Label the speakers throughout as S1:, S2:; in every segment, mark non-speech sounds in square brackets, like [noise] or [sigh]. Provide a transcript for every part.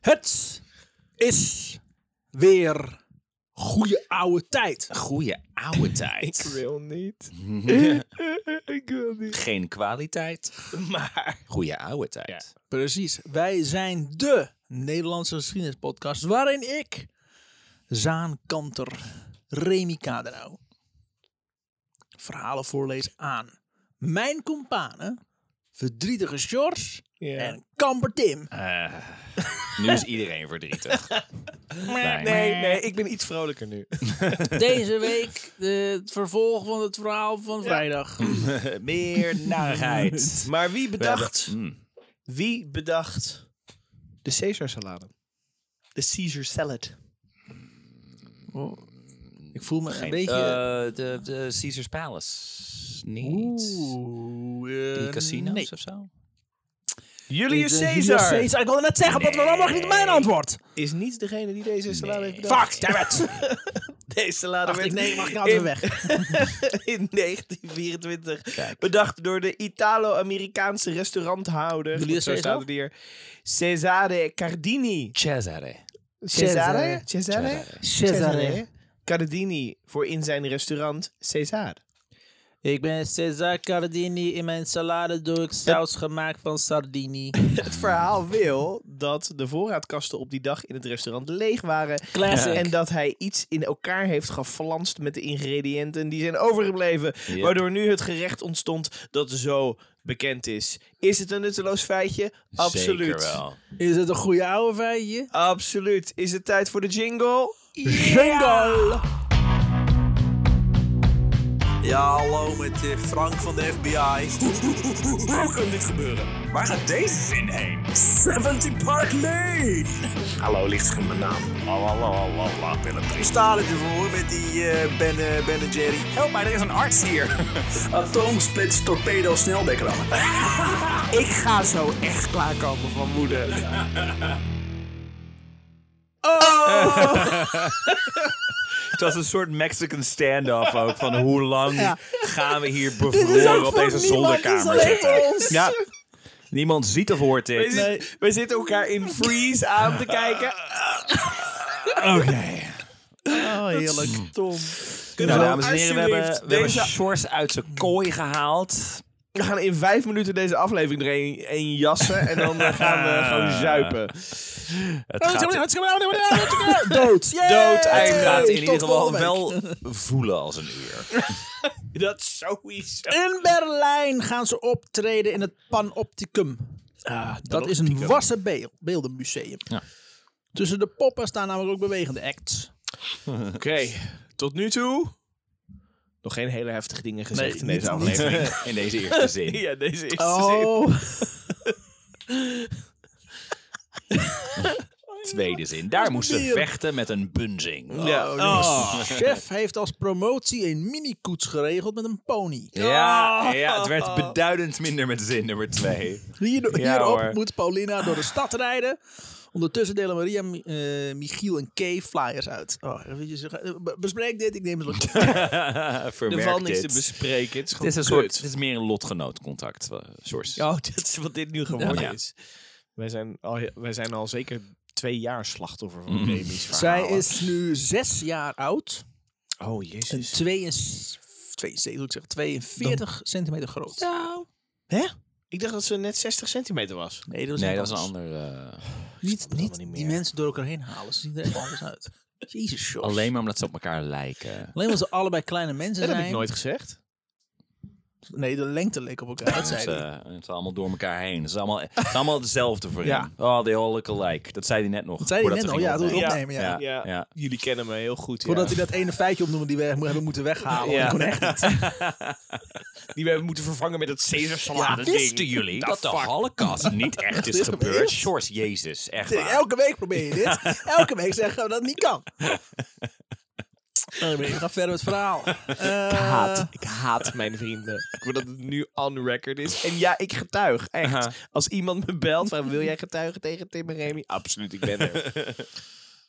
S1: Het is weer goede oude tijd.
S2: Goeie [laughs] oude
S3: Ik [laughs]
S2: tijd.
S3: wil niet. ik wil niet.
S2: [laughs] Geen kwaliteit, maar goede oude tijd.
S1: Precies. Wij zijn de Nederlandse geschiedenispodcast waarin ik, Zaan Kanter, Remy Kadenau, verhalen voorlees aan mijn kompanen, verdrietige Sjors
S3: Ja.
S1: en Kamper Tim.
S2: Eh, nu is iedereen [laughs] verdrietig. Fijn.
S3: Nee, nee, Eh, ik ben iets vrolijker nu.
S2: [laughs]
S1: Deze week eh, het vervolg van het verhaal van vrijdag.
S2: [laughs] Meer [laughs] narigheid.
S3: Maar wie bedacht,
S2: Mm.
S3: wie bedacht de Caesar salade? De Caesar salad.
S1: Oh, Ik voel me een
S2: Geen-
S1: beetje...
S2: eh, de, de Caesar's Palace. Niet.
S1: Oeh, eh,
S2: Die casino's
S1: nee.
S2: of zo?
S3: Julius
S1: Niet, eh,
S3: Caesar,
S1: Julius Caesar. Ik wilde net zeggen, dat waarom mag niet mijn antwoord?
S3: is niet degene die deze salade
S2: Nee.
S3: heeft bedacht.
S1: Fuck, damn [laughs] it.
S3: Deze salade
S1: Dacht ik,
S3: werd
S1: nee, mag ik nou weer weg.
S3: [laughs] in 1924
S2: Kijk.
S3: bedacht door de Italo-Amerikaanse restauranthouder.
S1: Julius
S3: Goed, zo
S1: Caesar?
S3: staat het hier. Cesare Cardini.
S2: Cesare.
S3: Cesare? Cesare?
S2: Cesare.
S3: Cesare Cardini voor in zijn restaurant Cesare.
S1: Ik ben Cesar Cardini. In mijn salade doe ik saus gemaakt van sardini.
S3: Het verhaal wil dat de voorraadkasten op die dag in het restaurant leeg waren.
S1: Classic.
S3: En dat hij iets in elkaar heeft geflanst met de ingrediënten die zijn overgebleven.
S2: Ja.
S3: Waardoor nu het gerecht ontstond dat zo bekend is. Is het een nutteloos feitje? Absoluut.
S2: Zeker wel.
S1: Is het een goede oude feitje?
S3: Absoluut. Is het tijd voor de jingle?
S1: Jingle! Ja, hallo met eh, Frank van de FBI.
S4: [laughs] Hoe kan dit gebeuren? Waar gaat deze zin heen? 70 Park Lane! Hallo, licht in mijn naam. Lalalala, Willem Dries.
S1: Staat het ervoor met die eh, ben, eh, ben en Jerry?
S4: Help mij, er is een arts hier. [laughs] Atoomsplits, torpedo, sneldekker.
S3: [laughs] Ik ga zo echt klaarkomen van moeder. Oh!
S2: Eh, Het was een soort Mexican standoff ook. Van hoe lang gaan we [laughs] hier
S1: is ook
S2: bevroren op
S1: voor
S2: deze
S1: niemand,
S2: zolderkamer
S1: het is alleen
S2: zitten?
S1: voor ons.
S2: Ja. Niemand ziet of hoort
S3: We,
S2: dit.
S3: zit- we zitten elkaar in freeze aan te kijken.
S2: Oké.
S1: Oh, heerlijk.
S3: Tom.
S2: Nou, dames en heren, we hebben, we hebben
S3: deze...
S2: Sjors uit zijn kooi gehaald.
S3: we gaan in vijf minuten deze aflevering er een, een jassen en dan eh, gaan we gewoon zuipen.
S2: Het gaat,
S1: [laughs] [laughs] Dood.
S3: Dood,
S2: het
S3: eind.
S2: gaat in
S1: Tot
S2: ieder geval
S1: volgende week.
S2: wel voelen als een uur.
S3: Dat sowieso.
S1: In Berlijn gaan ze optreden in het Panopticum. Ah, dat is een wassen beel- beeldenmuseum.
S2: Ja.
S1: Tussen de poppen staan namelijk ook bewegende acts.
S3: Oké, tot nu toe nog geen hele heftige dingen gezegd
S1: Nee,
S3: in deze
S1: niet-
S2: [laughs]
S3: aflevering.
S1: [laughs]
S2: In deze eerste zin.
S3: ja, deze is
S1: Oh,
S2: Tweede zin. Daar moesten ze
S1: bier.
S2: vechten met een bunzing.
S3: Ja.
S1: Oh,
S2: Oh.
S1: [laughs] chef heeft als promotie een minikoets geregeld met een pony.
S2: Ja, ja, het werd beduidend minder met zin nummer
S1: [laughs]
S2: twee.
S1: Hier,
S2: Ja,
S1: hierop
S2: hoor.
S1: moet Paulina door de stad rijden. Ondertussen delen Maria, Mi- eh, Michiel en Kay flyers uit. Oh, weet je, ze- be- bespreek dit, ik neem
S3: [laughs]
S1: het op.
S3: er
S2: Vermerk
S3: valt niks te
S2: dit.
S3: bespreken. Het is
S2: Het
S3: gewoon
S2: is, een
S3: kut. [laughs]
S2: soort, het is meer een lotgenootcontact, eh, Sjors.
S3: Oh, dat is wat dit nu geworden
S2: Ja.
S3: is. Wij zijn, al, wij zijn al zeker twee jaar slachtoffer van Remy's
S1: Zij
S3: verhalen.
S1: is nu zes jaar oud.
S3: Oh,
S1: En
S3: jezus.
S1: 72, 72, ik zeg 42 centimeter groot.
S3: Hè? Ik dacht dat ze net 60 centimeter was.
S1: Nee, dat is
S2: Nee, dat is een ander. eh,
S1: Niet, niet,
S3: niet
S1: die
S3: meer.
S1: mensen door elkaar heen halen. Ze zien er echt anders
S3: [laughs]
S1: uit. Jezus, joh.
S2: alleen maar omdat ze op elkaar lijken.
S1: Alleen omdat ze allebei kleine mensen
S3: Dat
S1: zijn.
S3: heb ik nooit gezegd.
S1: Nee, de lengte leek op elkaar. Dat
S2: Het
S3: dus,
S2: is,
S1: zei hij.
S2: eh, het is allemaal door elkaar heen. Het is allemaal, het is allemaal hetzelfde voor
S3: Ja.
S2: hem. Oh, they all look alike. Dat zei hij net nog.
S1: Dat zei hij net
S2: voordat
S1: al.
S2: we
S1: Ja,
S2: gingen
S1: toen we het
S3: opnemen.
S1: opnemen, ja.
S2: Ja. ja.
S3: Jullie kennen me heel goed.
S1: Voordat
S3: ja.
S1: hij dat ene feitje opnoemde die we echt mo- hebben moeten weghalen.
S3: Ja.
S1: Dat kon echt niet.
S3: [laughs] Die we hebben moeten vervangen met het Caesar salade
S2: Ja, wisten jullie dat de Holocaust [laughs] niet echt is gebeurd? Sjors, jezus, echt waar.
S1: Elke week probeer je dit. Elke week zeggen we dat het niet kan.
S3: [laughs]
S1: Nou, Ik ga verder met het
S3: [laughs]
S1: verhaal.
S3: Ik haat, ik haat mijn vrienden. Ik wil dat het nu on record is. En ja, ik getuig, echt.
S2: Aha.
S3: Als iemand me belt, van, wil jij getuigen tegen Tim en Remy? Absoluut, ik ben er.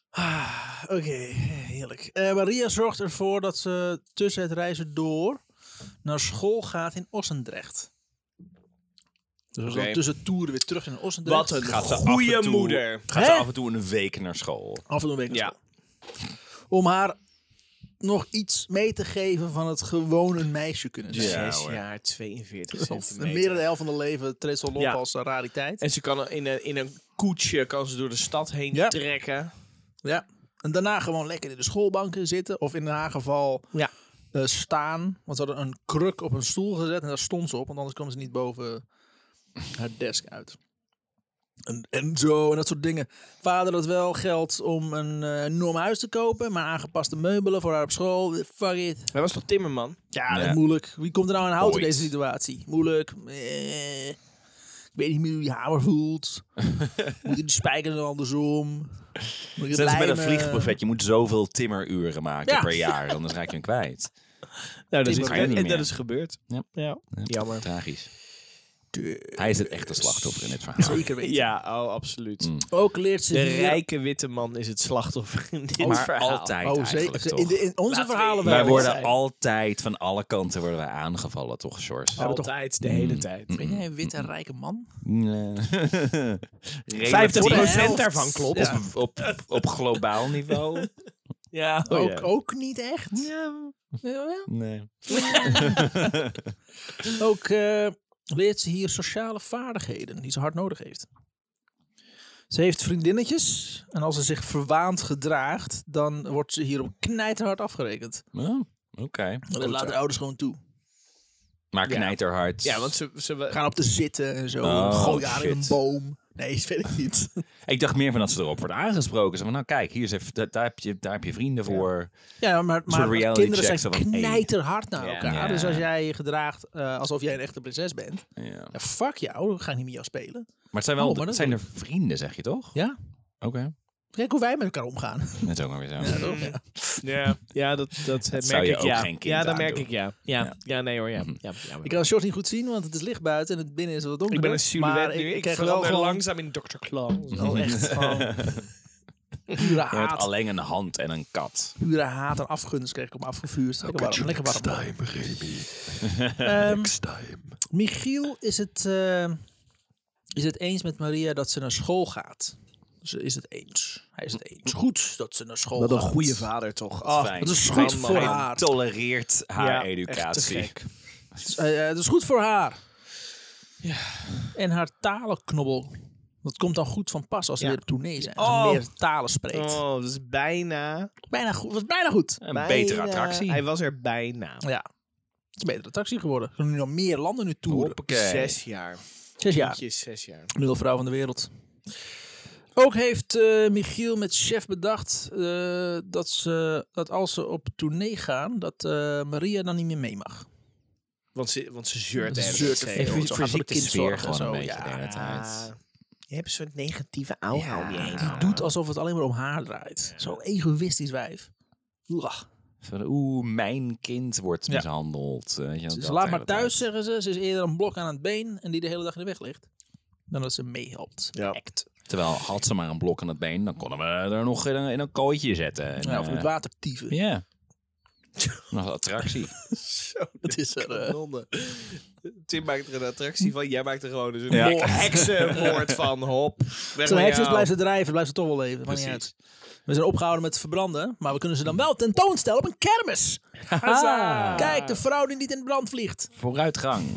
S1: Ah, Oké, heerlijk. Eh, Maria zorgt ervoor dat ze tussen het reizen door naar school gaat in Ossendrecht. Dus we
S3: Oké.
S1: gaan tussen toeren weer terug in Ossendrecht.
S3: Wat een
S2: Gaat ze
S3: goede
S2: af en toe-
S3: moeder.
S2: Gaat ze
S1: Hè?
S2: af en toe een week naar school.
S1: Af en toe een week
S3: Ja.
S1: Om haar nog iets mee te geven van het gewone meisje kunnen zijn.
S2: Ja,
S3: Zes
S2: hoor.
S3: jaar, 42
S1: Of meer dan de
S3: centimeter.
S1: helft van de leven treedt ze al op
S3: Ja.
S1: als een rariteit.
S3: En ze kan in een, in een koetsje kan ze door de stad heen
S1: Ja.
S3: trekken.
S1: Ja. En daarna gewoon lekker in de schoolbanken zitten. Of in haar geval
S3: Ja.
S1: eh, staan. Want ze hadden een kruk op een stoel gezet. En daar stond ze op. Want anders kwam ze niet boven haar desk uit. En, en zo, en dat soort dingen. Vader had wel geld om een eh, enorm huis te kopen. Maar aangepaste meubelen voor haar op school. Fuck it.
S3: Hij was toch timmerman?
S1: Ja, dat
S2: Ja.
S1: is moeilijk. Wie komt er nou aan houden in
S2: Ooit.
S1: deze situatie? Moeilijk. Eh, ik weet niet meer hoe die hamer
S2: [laughs]
S1: voelt. Moet je die spijkers andersom? Moet je het
S2: Zelfs met een
S1: lijmen?
S2: vliegbuffet, je moet zoveel timmeruren maken
S1: Ja.
S2: per jaar, anders raak je hem kwijt.
S3: Nou, dat is,
S1: Timmerman.
S2: Ga je niet
S3: en dat
S2: meer.
S3: is gebeurd.
S2: Ja.
S3: Jammer.
S2: Tragisch.
S1: De-
S2: Hij is het echte slachtoffer in dit verhaal.
S1: Zeker weten.
S3: Ja, oh, absoluut.
S2: Mm.
S1: Ook leert ze
S3: De
S1: hier-
S3: rijke witte man is het slachtoffer in dit
S2: maar
S3: verhaal.
S2: altijd
S1: Oh,
S2: eigenlijk,
S1: zeker.
S2: toch?
S1: In, de- in onze
S3: Laten we
S1: verhalen
S3: eerlijk
S1: wel.
S2: Wij
S3: Wij
S2: worden
S3: zijn.
S2: altijd van alle kanten worden wij aangevallen, toch, Sjors?
S1: hebben toch-
S3: Altijd, de
S2: Mm.
S3: hele tijd.
S1: Ben jij een witte rijke man?
S2: Nee. Relatief.
S3: 50%
S1: helft.
S3: daarvan klopt.
S1: Ja.
S2: Op, op, op globaal niveau?
S3: Oh, Ja.
S2: Oh,
S1: ook, ook niet echt.
S2: Nee.
S1: Ook eh, leert ze hier sociale vaardigheden die ze hard nodig heeft. Ze heeft vriendinnetjes en als ze zich verwaand gedraagt, dan wordt ze hierop knijterhard afgerekend.
S2: Oh, Oké.
S1: Dat
S3: Goed,
S1: laten
S3: ja.
S1: de ouders gewoon toe.
S2: Maar
S3: Ja.
S2: knijterhard.
S3: ja, want ze... ze
S1: Gaan op de zitten en zo.
S2: Oh,
S1: Gooi haar in een
S2: shit.
S1: boom. Nee, dat weet ik
S3: [laughs]
S1: niet.
S2: Ik dacht meer van dat ze erop wordt aangesproken. Zo van, nou kijk, hier is even, da- daar, heb je, daar heb je vrienden voor.
S1: Ja, maar, maar
S2: soort reality
S1: kinderen
S2: check,
S1: zijn
S2: zo van, hey.
S1: knijterhard naar
S3: Ja.
S1: elkaar.
S2: Ja.
S1: Dus als jij je gedraagt eh, alsof jij een echte prinses bent,
S2: Ja.
S1: ja, fuck jou, dan ga ik niet met jou spelen.
S2: Maar het zijn wel
S1: Oh, maar dat
S2: zijn er vrienden, zeg je toch?
S1: Ja?
S2: Oké.
S1: Kijk hoe wij met elkaar
S3: [laughs]
S1: omgaan.
S2: Dat is ook maar weer zo.
S1: Ja.
S3: ja, ja, dat, dat, merk
S2: zou je
S3: ik
S2: ook
S3: ja.
S2: geen kind
S3: ja, dat
S2: aandoen.
S3: merk ik ja. Ja, ja.
S2: Ja.
S3: nee hoor, ja. ja, ja
S1: Ik kan het short niet goed zien, want het is licht buiten en het binnen is wat donker.
S3: Ik ben een
S1: Maar
S3: silhouet
S1: ik,
S3: nu. Ik,
S1: ik krijg wel
S3: verander
S1: gewoon
S3: langzaam in Dr. Claw.
S1: wel echt gewoon pure
S2: Je hebt
S1: haat,
S2: alleen een hand en een kat.
S1: pure haat en afgunst kreeg ik hem afgevuurd. Lekker warm, lekker warm. Ehm, Michiel is het, eh, is het eens met Maria dat ze naar school gaat. Ze is het eens. Hij is het eens.
S3: Mm.
S1: Goed dat ze naar school gaat.
S3: vader toch.
S2: Fijn.
S1: dat is
S2: Fijn
S1: goed
S2: man.
S1: voor
S2: Hij
S1: haar.
S2: tolereert haar
S3: Ja, echt te
S2: educatie.
S3: gek.
S1: Eh, eh, dat is goed voor haar. En haar talenknobbel. Dat komt dan goed van pas als ze
S3: Ja.
S1: weer op tournee zijn. Als
S3: Oh.
S1: ze meer talen spreekt.
S3: Oh, dat is bijna.
S1: Bijna goed. was bijna goed.
S2: Een
S3: bijna-
S2: betere attractie.
S3: eh, Hij was er bijna.
S1: Ja. Het is een betere attractie geworden. Ze doen nu nog meer landen nu toeren.
S2: Hoppakee.
S3: Zes jaar.
S1: Zes jaar.
S3: Kindje is zes jaar.
S1: Middelvrouw van de wereld. Ook heeft eh, Michiel met chef bedacht eh, dat, ze, dat als ze op tournee gaan, dat eh, Maria dan niet meer mee mag.
S3: Want ze, want ze zeurt
S1: Ze
S3: ergens.
S1: zeurt
S3: Ze-
S1: er
S2: Even
S1: veel.
S2: voor
S1: Zo gaat ze
S2: ziek
S1: de
S2: de sfeer
S1: kindzorg en
S2: gewoon een
S1: zo,
S2: beetje
S1: ja.
S2: de hele tijd.
S3: Je hebt een soort negatieve aura om je heen.
S1: Die doet alsof het alleen maar om haar draait. Zo egoïstisch wijf. Uah.
S2: Van, Oeh, mijn kind wordt
S1: Ja.
S2: mishandeld. eh, weet je wel,
S1: Ze
S2: dat
S1: laat
S2: de
S1: maar
S2: hele
S1: thuis,
S2: tijd.
S1: zeggen ze. Ze is eerder een blok aan het been en die de hele dag in de weg ligt. Dan dat ze meehelpt.
S3: Ja.
S1: Act.
S2: Terwijl had ze maar een blok aan het been, dan konden we er nog in een, in een kooitje zetten. En,
S1: Ja, of in het
S2: eh,
S1: water dieven.
S2: Ja. Nog een attractie.
S1: [laughs] Dat is er. eh,
S3: Kanon. Tim maakt er een attractie van. Jij maakt er gewoon dus een
S2: Ja.
S3: moord- heksenmoord van. Hop. Weg
S1: Zo'n
S3: met
S1: heksens
S3: jou.
S1: blijven ze drijven, blijven ze toch wel leven. Maakt niet uit.
S2: Precies.
S1: We zijn opgehouden met verbranden, maar we kunnen ze dan wel tentoonstellen op een kermis. Huzzah. Kijk, de vrouw die niet in brand vliegt.
S2: Vooruitgang.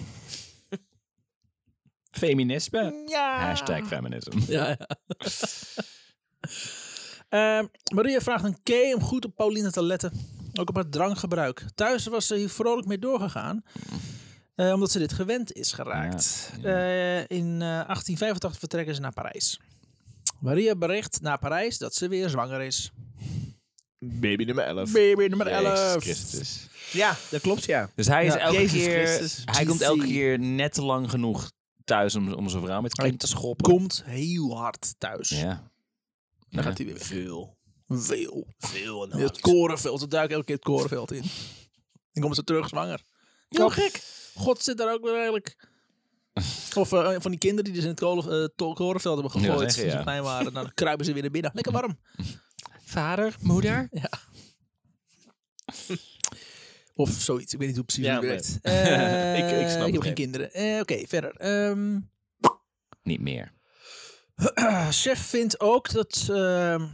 S2: Feminisme.
S1: Ja.
S2: Hashtag feminism.
S1: Ja, ja. Ehm, Maria vraagt een Kay om goed op Pauline te letten. Ook op haar drankgebruik. Thuis was ze hier vrolijk mee doorgegaan. eh, omdat ze dit gewend is geraakt.
S2: Ja,
S1: Eh, in eh, 1885 vertrekken ze naar Parijs. Maria bericht naar Parijs dat ze weer zwanger is.
S3: Baby nummer 11.
S1: Baby nummer
S2: Jezus
S1: 11.
S2: Christus.
S3: Ja, dat klopt ja.
S2: Dus hij is
S1: Ja.
S2: elke
S3: Jezus
S2: keer.
S3: Christus.
S2: Hij komt elke keer net te lang genoeg thuis om, om zijn vrouw met
S1: Hij
S2: kind te schoppen.
S1: Komt heel hard thuis.
S2: Ja.
S1: Dan gaat hij weer Veel. Veel. Veel. het korenveld. Ze duiken elke keer het korenveld in. Dan komen ze terug zwanger. Heel gek. God zit daar ook weer eigenlijk. Of eh, van die kinderen die dus in het kolen, eh, to- korenveld hebben
S2: Ja,
S1: gegooid.
S2: zeggen,
S1: toen ze
S2: ja.
S1: klein waren. Dan kruipen ze weer naar binnen. Lekker warm.
S2: Vader,
S3: Mm.
S2: moeder.
S1: Of zoiets. Ik weet niet hoe precies
S3: Ja,
S1: het werkt.
S3: maar-
S1: Eh,
S3: Ik- ik snap het
S1: heb geen
S3: even.
S1: kinderen. Eh, Oké, verder. Ehm,
S2: Niet meer.
S1: Chef vindt ook dat. ehm,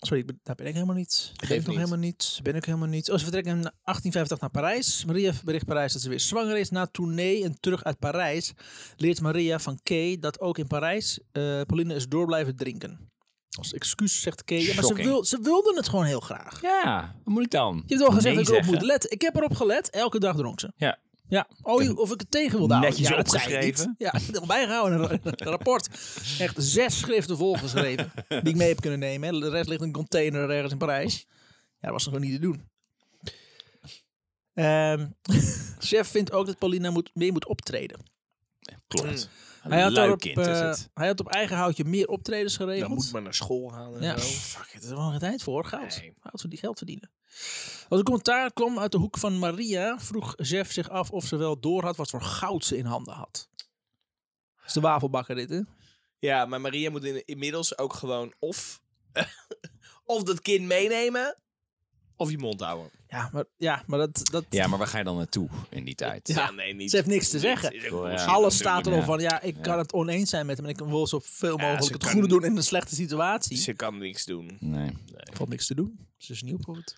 S1: sorry, ik ben, daar ben ik helemaal niet. Ik leef nog
S3: niet.
S1: helemaal niet. Ben ik helemaal niet. Oh, ze vertrekken in 1850 naar Parijs. Maria bericht Parijs dat ze weer zwanger is. Na tournee en terug uit Parijs leert Maria van Kay dat ook in Parijs eh, Pauline is door blijven drinken. Als excuus zegt Kay. Ja, maar ze,
S2: Shocking.
S1: wil, ze wilden het gewoon heel graag.
S2: Ja, wat moet ik dan?
S1: Je hebt al gezegd
S2: Nee
S1: dat ik erop
S2: zeggen.
S1: moet letten. Ik heb erop gelet. Elke dag dronk ze.
S2: Ja.
S1: Ja, oh, je- of ik het tegen wilde houden.
S2: Netjes
S1: ja, dat zei ik
S2: opgeschreven.
S1: niet. Ja, ik heb het bijgehouden in een ra- een rapport. Echt zes schriften
S2: [laughs]
S1: volgeschreven die ik mee heb kunnen nemen. hè. De rest ligt in een container ergens in Parijs. Ja, dat was gewoon niet te doen. Ehm, [laughs] chef vindt ook dat Paulina moet, meer moet optreden.
S2: Klopt.
S3: Mm.
S2: Een
S1: Hij had,
S2: lui
S1: daarop,
S2: kind is
S1: eh,
S2: het.
S1: hij had op eigen houtje meer optredens
S4: Dan
S1: geregeld.
S4: moet maar naar school gaan en
S1: Ja,
S4: zo.
S1: fuck, het is wel een tijd voor. Goud.
S3: Nee.
S1: Goud voor die geld verdienen. Als een commentaar kwam uit de hoek van Maria, vroeg Jeff zich af of ze wel door had wat voor goud ze in handen had. Dat is de wafelbakker dit, hè?
S3: Ja, maar Maria moet in- inmiddels ook gewoon of, [laughs] of dat kind meenemen, of je mond houden.
S1: Ja, maar, ja, maar dat... dat
S2: Ja, maar waar ga je dan naartoe in die tijd?
S1: Ja,
S3: nee, niet.
S1: ze heeft niks te zeggen.
S3: is ook
S2: Ja.
S3: bullshit
S1: Alles
S3: natuurlijk.
S1: staat erop
S2: ja.
S1: van, ja, ik
S2: Ja.
S1: kan het oneens zijn met hem en ik wil zoveel
S3: Ja,
S1: mogelijk
S3: ze
S1: het
S3: kan-
S1: goede doen in een slechte situatie.
S3: Ze kan niks doen.
S1: [laughs]
S2: Nee.
S1: valt niks te doen. Ze is nieuw op het.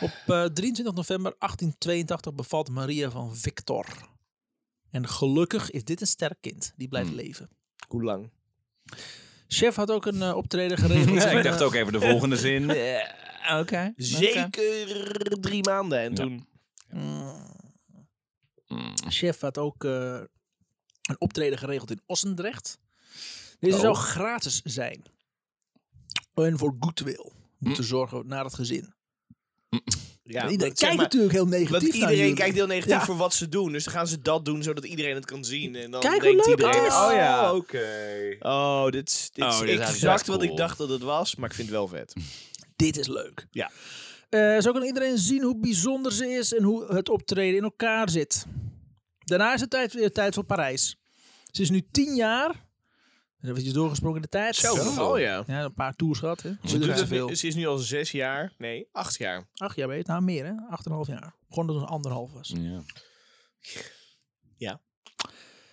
S1: Op eh, 23 november 1882 bevalt Maria van Victor. En gelukkig is dit een sterk kind. Die blijft
S2: Hmm.
S1: leven.
S3: Hoe lang?
S1: Chef had ook een eh, optreden
S2: [laughs]
S1: geregeld.
S2: Ja, ik
S1: En,
S2: dacht
S1: eh,
S2: ook even de volgende zin. Eh, Oké. oké.
S3: Zeker drie maanden. En toen.
S1: mm,
S2: Mm.
S1: Chef had ook eh, een optreden geregeld in Ossendrecht. Deze
S3: Oh.
S1: zou gratis zijn. En voor goodwill. Om te zorgen naar het gezin.
S3: Mm. Ja,
S1: iedereen
S3: want,
S1: kijkt
S3: zeg maar,
S1: natuurlijk heel negatief
S3: Want
S1: naar
S3: iedereen
S1: jullie.
S3: kijkt heel negatief
S1: Ja.
S3: voor wat ze doen. Dus dan gaan ze dat doen zodat iedereen het kan zien. En dan
S1: Kijk hoe
S3: denkt
S1: leuk het
S3: iedereen.
S1: is.
S3: Oh ja.
S2: oké.
S3: Oh, dit, is- dit
S2: Oh,
S3: is
S2: dit is eigenlijk
S3: exact
S2: best
S3: wat ik
S2: cool.
S3: dacht dat het was, maar ik vind het wel vet.
S1: dit is leuk.
S3: Ja.
S1: Eh, zo kan iedereen zien hoe bijzonder ze is en hoe het optreden in elkaar zit. Daarna is het tijd, weer tijd voor Parijs. Ze is nu tien jaar. Even doorgesprongen in de tijd.
S3: Oh ja.
S1: Ja, een paar tours gehad. Hè.
S3: Ze,
S1: Niet
S3: doet het,
S1: zoveel.
S3: ze is nu al zes jaar. Nee, acht jaar.
S1: Acht jaar weet nou meer hè. Acht en een half jaar. Gewoon dat het anderhalf was.
S2: Ja.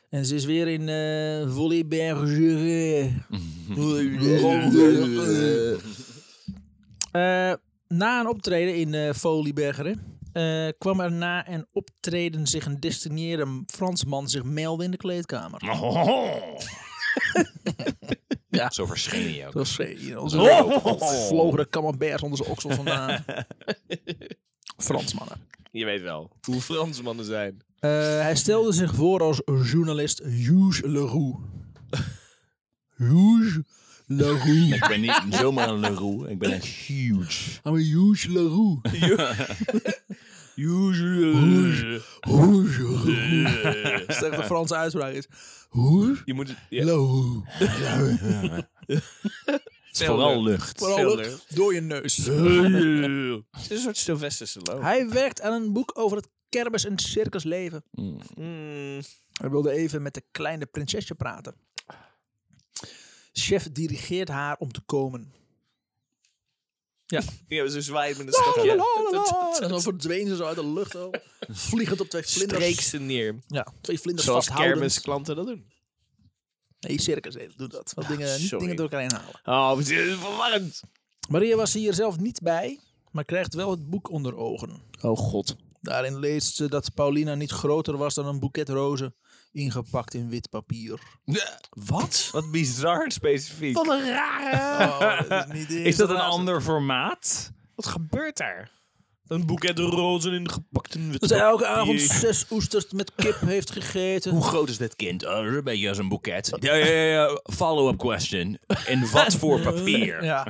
S1: En ze is weer in eh Volley Bergère. [laughs] Eh, na een optreden in eh Foliebergeren eh, kwam er na een optreden zich een destineerde Fransman zich melden in de kleedkamer. Ja.
S2: Zo verscheen je
S1: [laughs]
S2: ook.
S1: Dat was eh, onze
S2: Oh.
S1: vlogen de camembert onder zijn oksel [laughs] vandaan. Fransmannen.
S3: Je weet wel hoe Fransmannen zijn.
S1: Eh, hij stelde zich voor als journalist Hughes Leroux. [laughs] Hughes Leroux.
S2: Ik ben niet zomaar een Leroux. Ik ben een huge.
S1: I'm a Hughes Leroux.
S3: [laughs] Usually.
S1: Hughes Leroux. Dat is echt een Franse uitspraak is. Hughes
S3: Je moet het ja,
S1: Leroux.
S2: Vooral lucht.
S1: Vooral
S3: Veel
S1: lucht door je neus.
S3: Het is een soort Sylvester Stallone.
S1: Hij werkt aan een boek over het kermis- en circusleven.
S2: Mm.
S3: Mm,
S1: Hij wilde even met de kleine prinsesje praten. Chef dirigeert haar om te komen.
S3: ja, ze zwaait met een stokje.
S1: En dan verdween ze zo uit de lucht. Al. Vliegend op twee vlinders.
S3: Streek ze neer.
S1: Ja, twee vlinders
S3: Zoals
S1: vasthouden.
S3: kermisklanten dat doen.
S1: Nee, circus nee, doet dat. Wat dingen, niet
S3: sorry.
S1: dingen door elkaar heen halen.
S3: Oh, het is [laughs] verwarrend.
S1: Maria was hier zelf niet bij, maar krijgt wel het boek onder ogen.
S3: Oh god.
S1: Daarin leest ze dat Paulina niet groter was dan een boeket rozen, ingepakt in wit papier.
S2: [laughs]
S3: Wat?
S2: Wat bizar specifiek.
S3: Wat een rare...
S1: Oh, dat is, niet
S2: Is dat een
S1: eens-
S2: ander formaat?
S3: Wat gebeurt daar? Een boeket rozen in gepakte witte
S1: Dat zij elke
S3: papier.
S1: avond zes oesters met kip heeft gegeten.
S2: Hoe groot is dit kind? Eh, een beetje als een boeket. Ja, ja, ja. ja. Follow-up question. In wat voor papier?
S1: Ja,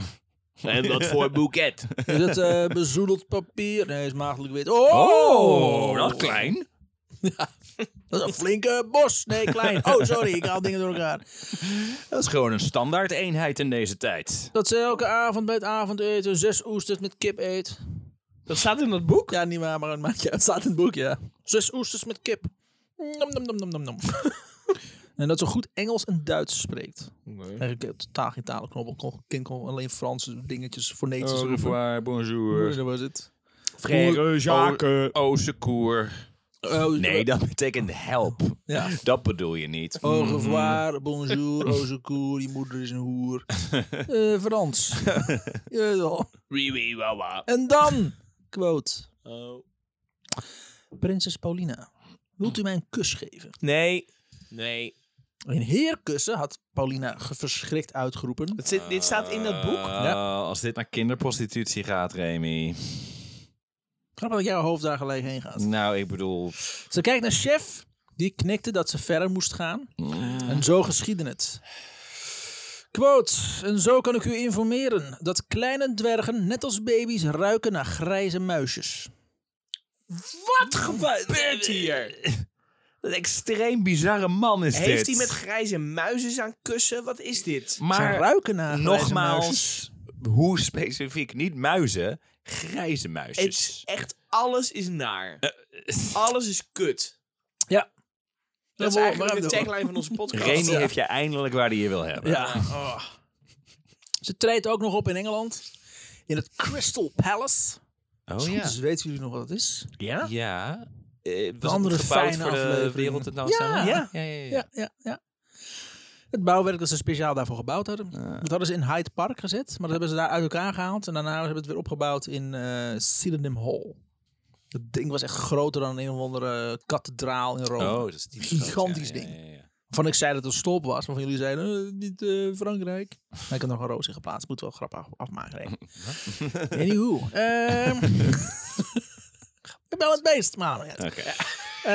S3: En dat voor boeket.
S1: is het eh, bezoedeld papier? Nee, is maagdelijk wit. Oh,
S2: Oh, dat is klein.
S1: Dat is een flinke bos. Nee, klein. Oh, sorry, ik haal dingen door elkaar.
S2: Dat is gewoon een standaard eenheid in deze tijd.
S1: Dat ze elke avond bij het avondeten zes oesters met kip eet.
S3: Dat staat in dat boek?
S1: Ja, niet waar, maar het maakt- ja, het staat in het boek, ja. Zes oesters met kip. Nom, nom, nom, nom, nom, [laughs] nom. en dat ze goed Engels en Duits spreekt. Eigenlijk eh, totaal geen talenknobbel. Kon, kind kon alleen Franse dingetjes, fonetische roepen.
S2: bonjour.
S1: Dat was het.
S3: Frère Jacques.
S2: Au oh, secours.
S1: Oh,
S2: Nee, dat betekent help.
S1: Ja.
S2: Dat bedoel je niet.
S3: Oh,
S1: Au revoir, bonjour, au secours, je moeder is een hoer. Eh, Frans. Jawel.
S3: Wee wee wawa.
S1: en dan, quote,
S3: Oh.
S1: prinses Paulina. Wilt u mij een kus geven?
S3: Nee. Nee.
S1: Een heer kussen had Paulina ge- verschrikt uitgeroepen.
S3: Dat zit, dit staat in dat boek.
S2: Eh, Als dit naar kinderprostitutie gaat, Remy.
S1: Grappig dat jouw hoofd daar gelijk heen gaat.
S2: Nou, ik bedoel...
S1: Ze kijkt naar chef. Die knikte dat ze verder moest gaan.
S2: Mm.
S1: En zo geschiedde het. Quote, en zo kan ik u informeren dat kleine dwergen net als baby's ruiken naar grijze muisjes.
S3: Wat gebeurt hier?
S2: Een extreem bizarre man is dit.
S3: Heeft hij met grijze muizen aan kussen? Wat is dit?
S1: Ze
S2: Maar
S1: ruiken naar grijze muisjes.
S2: nogmaals, hoe specifiek? Niet muizen, grijze
S3: Het is
S2: muisjes.
S3: echt alles is naar. Alles is kut.
S1: Ja.
S3: Dat is
S1: we-
S3: eigenlijk
S1: we-
S3: de tagline van
S1: [laughs]
S3: onze podcast.
S2: Remy
S3: Ja.
S2: heeft je eindelijk waar hij je wil hebben.
S1: Ja. oh. Ze treedt ook nog op in Engeland. In het Crystal Palace.
S2: Oh ja.
S1: Dus weten jullie nog wat het is?
S3: Ja?
S2: Ja. Eh, was
S1: andere
S2: het gebouwd
S1: fijne
S2: voor de
S1: afleveringen.
S2: wereld het nou
S1: Ja.
S2: Ja, ja, ja. ja.
S1: Ja, ja, ja. Het bouwwerk dat ze speciaal daarvoor gebouwd hadden. Dat hadden ze in Hyde Park gezet. Maar dat hebben ze daar uit elkaar gehaald. En daarna hebben ze het weer opgebouwd in eh Sydenham Hall. Dat ding was echt groter dan een of andere eh, kathedraal in Rome.
S2: Oh, dat is die
S1: Gigantisch ding. Van ik zei dat het een stolp was. Maar van jullie zeiden, eh, niet eh, Frankrijk. Maar ik heb nog een roos in geplaatst. Moet wel grap af- afmaken. Hè.
S2: [laughs]
S1: Anywho. ehm, [laughs] ik ben wel het beest, maar ja.
S2: Oké.
S1: [laughs] Eh,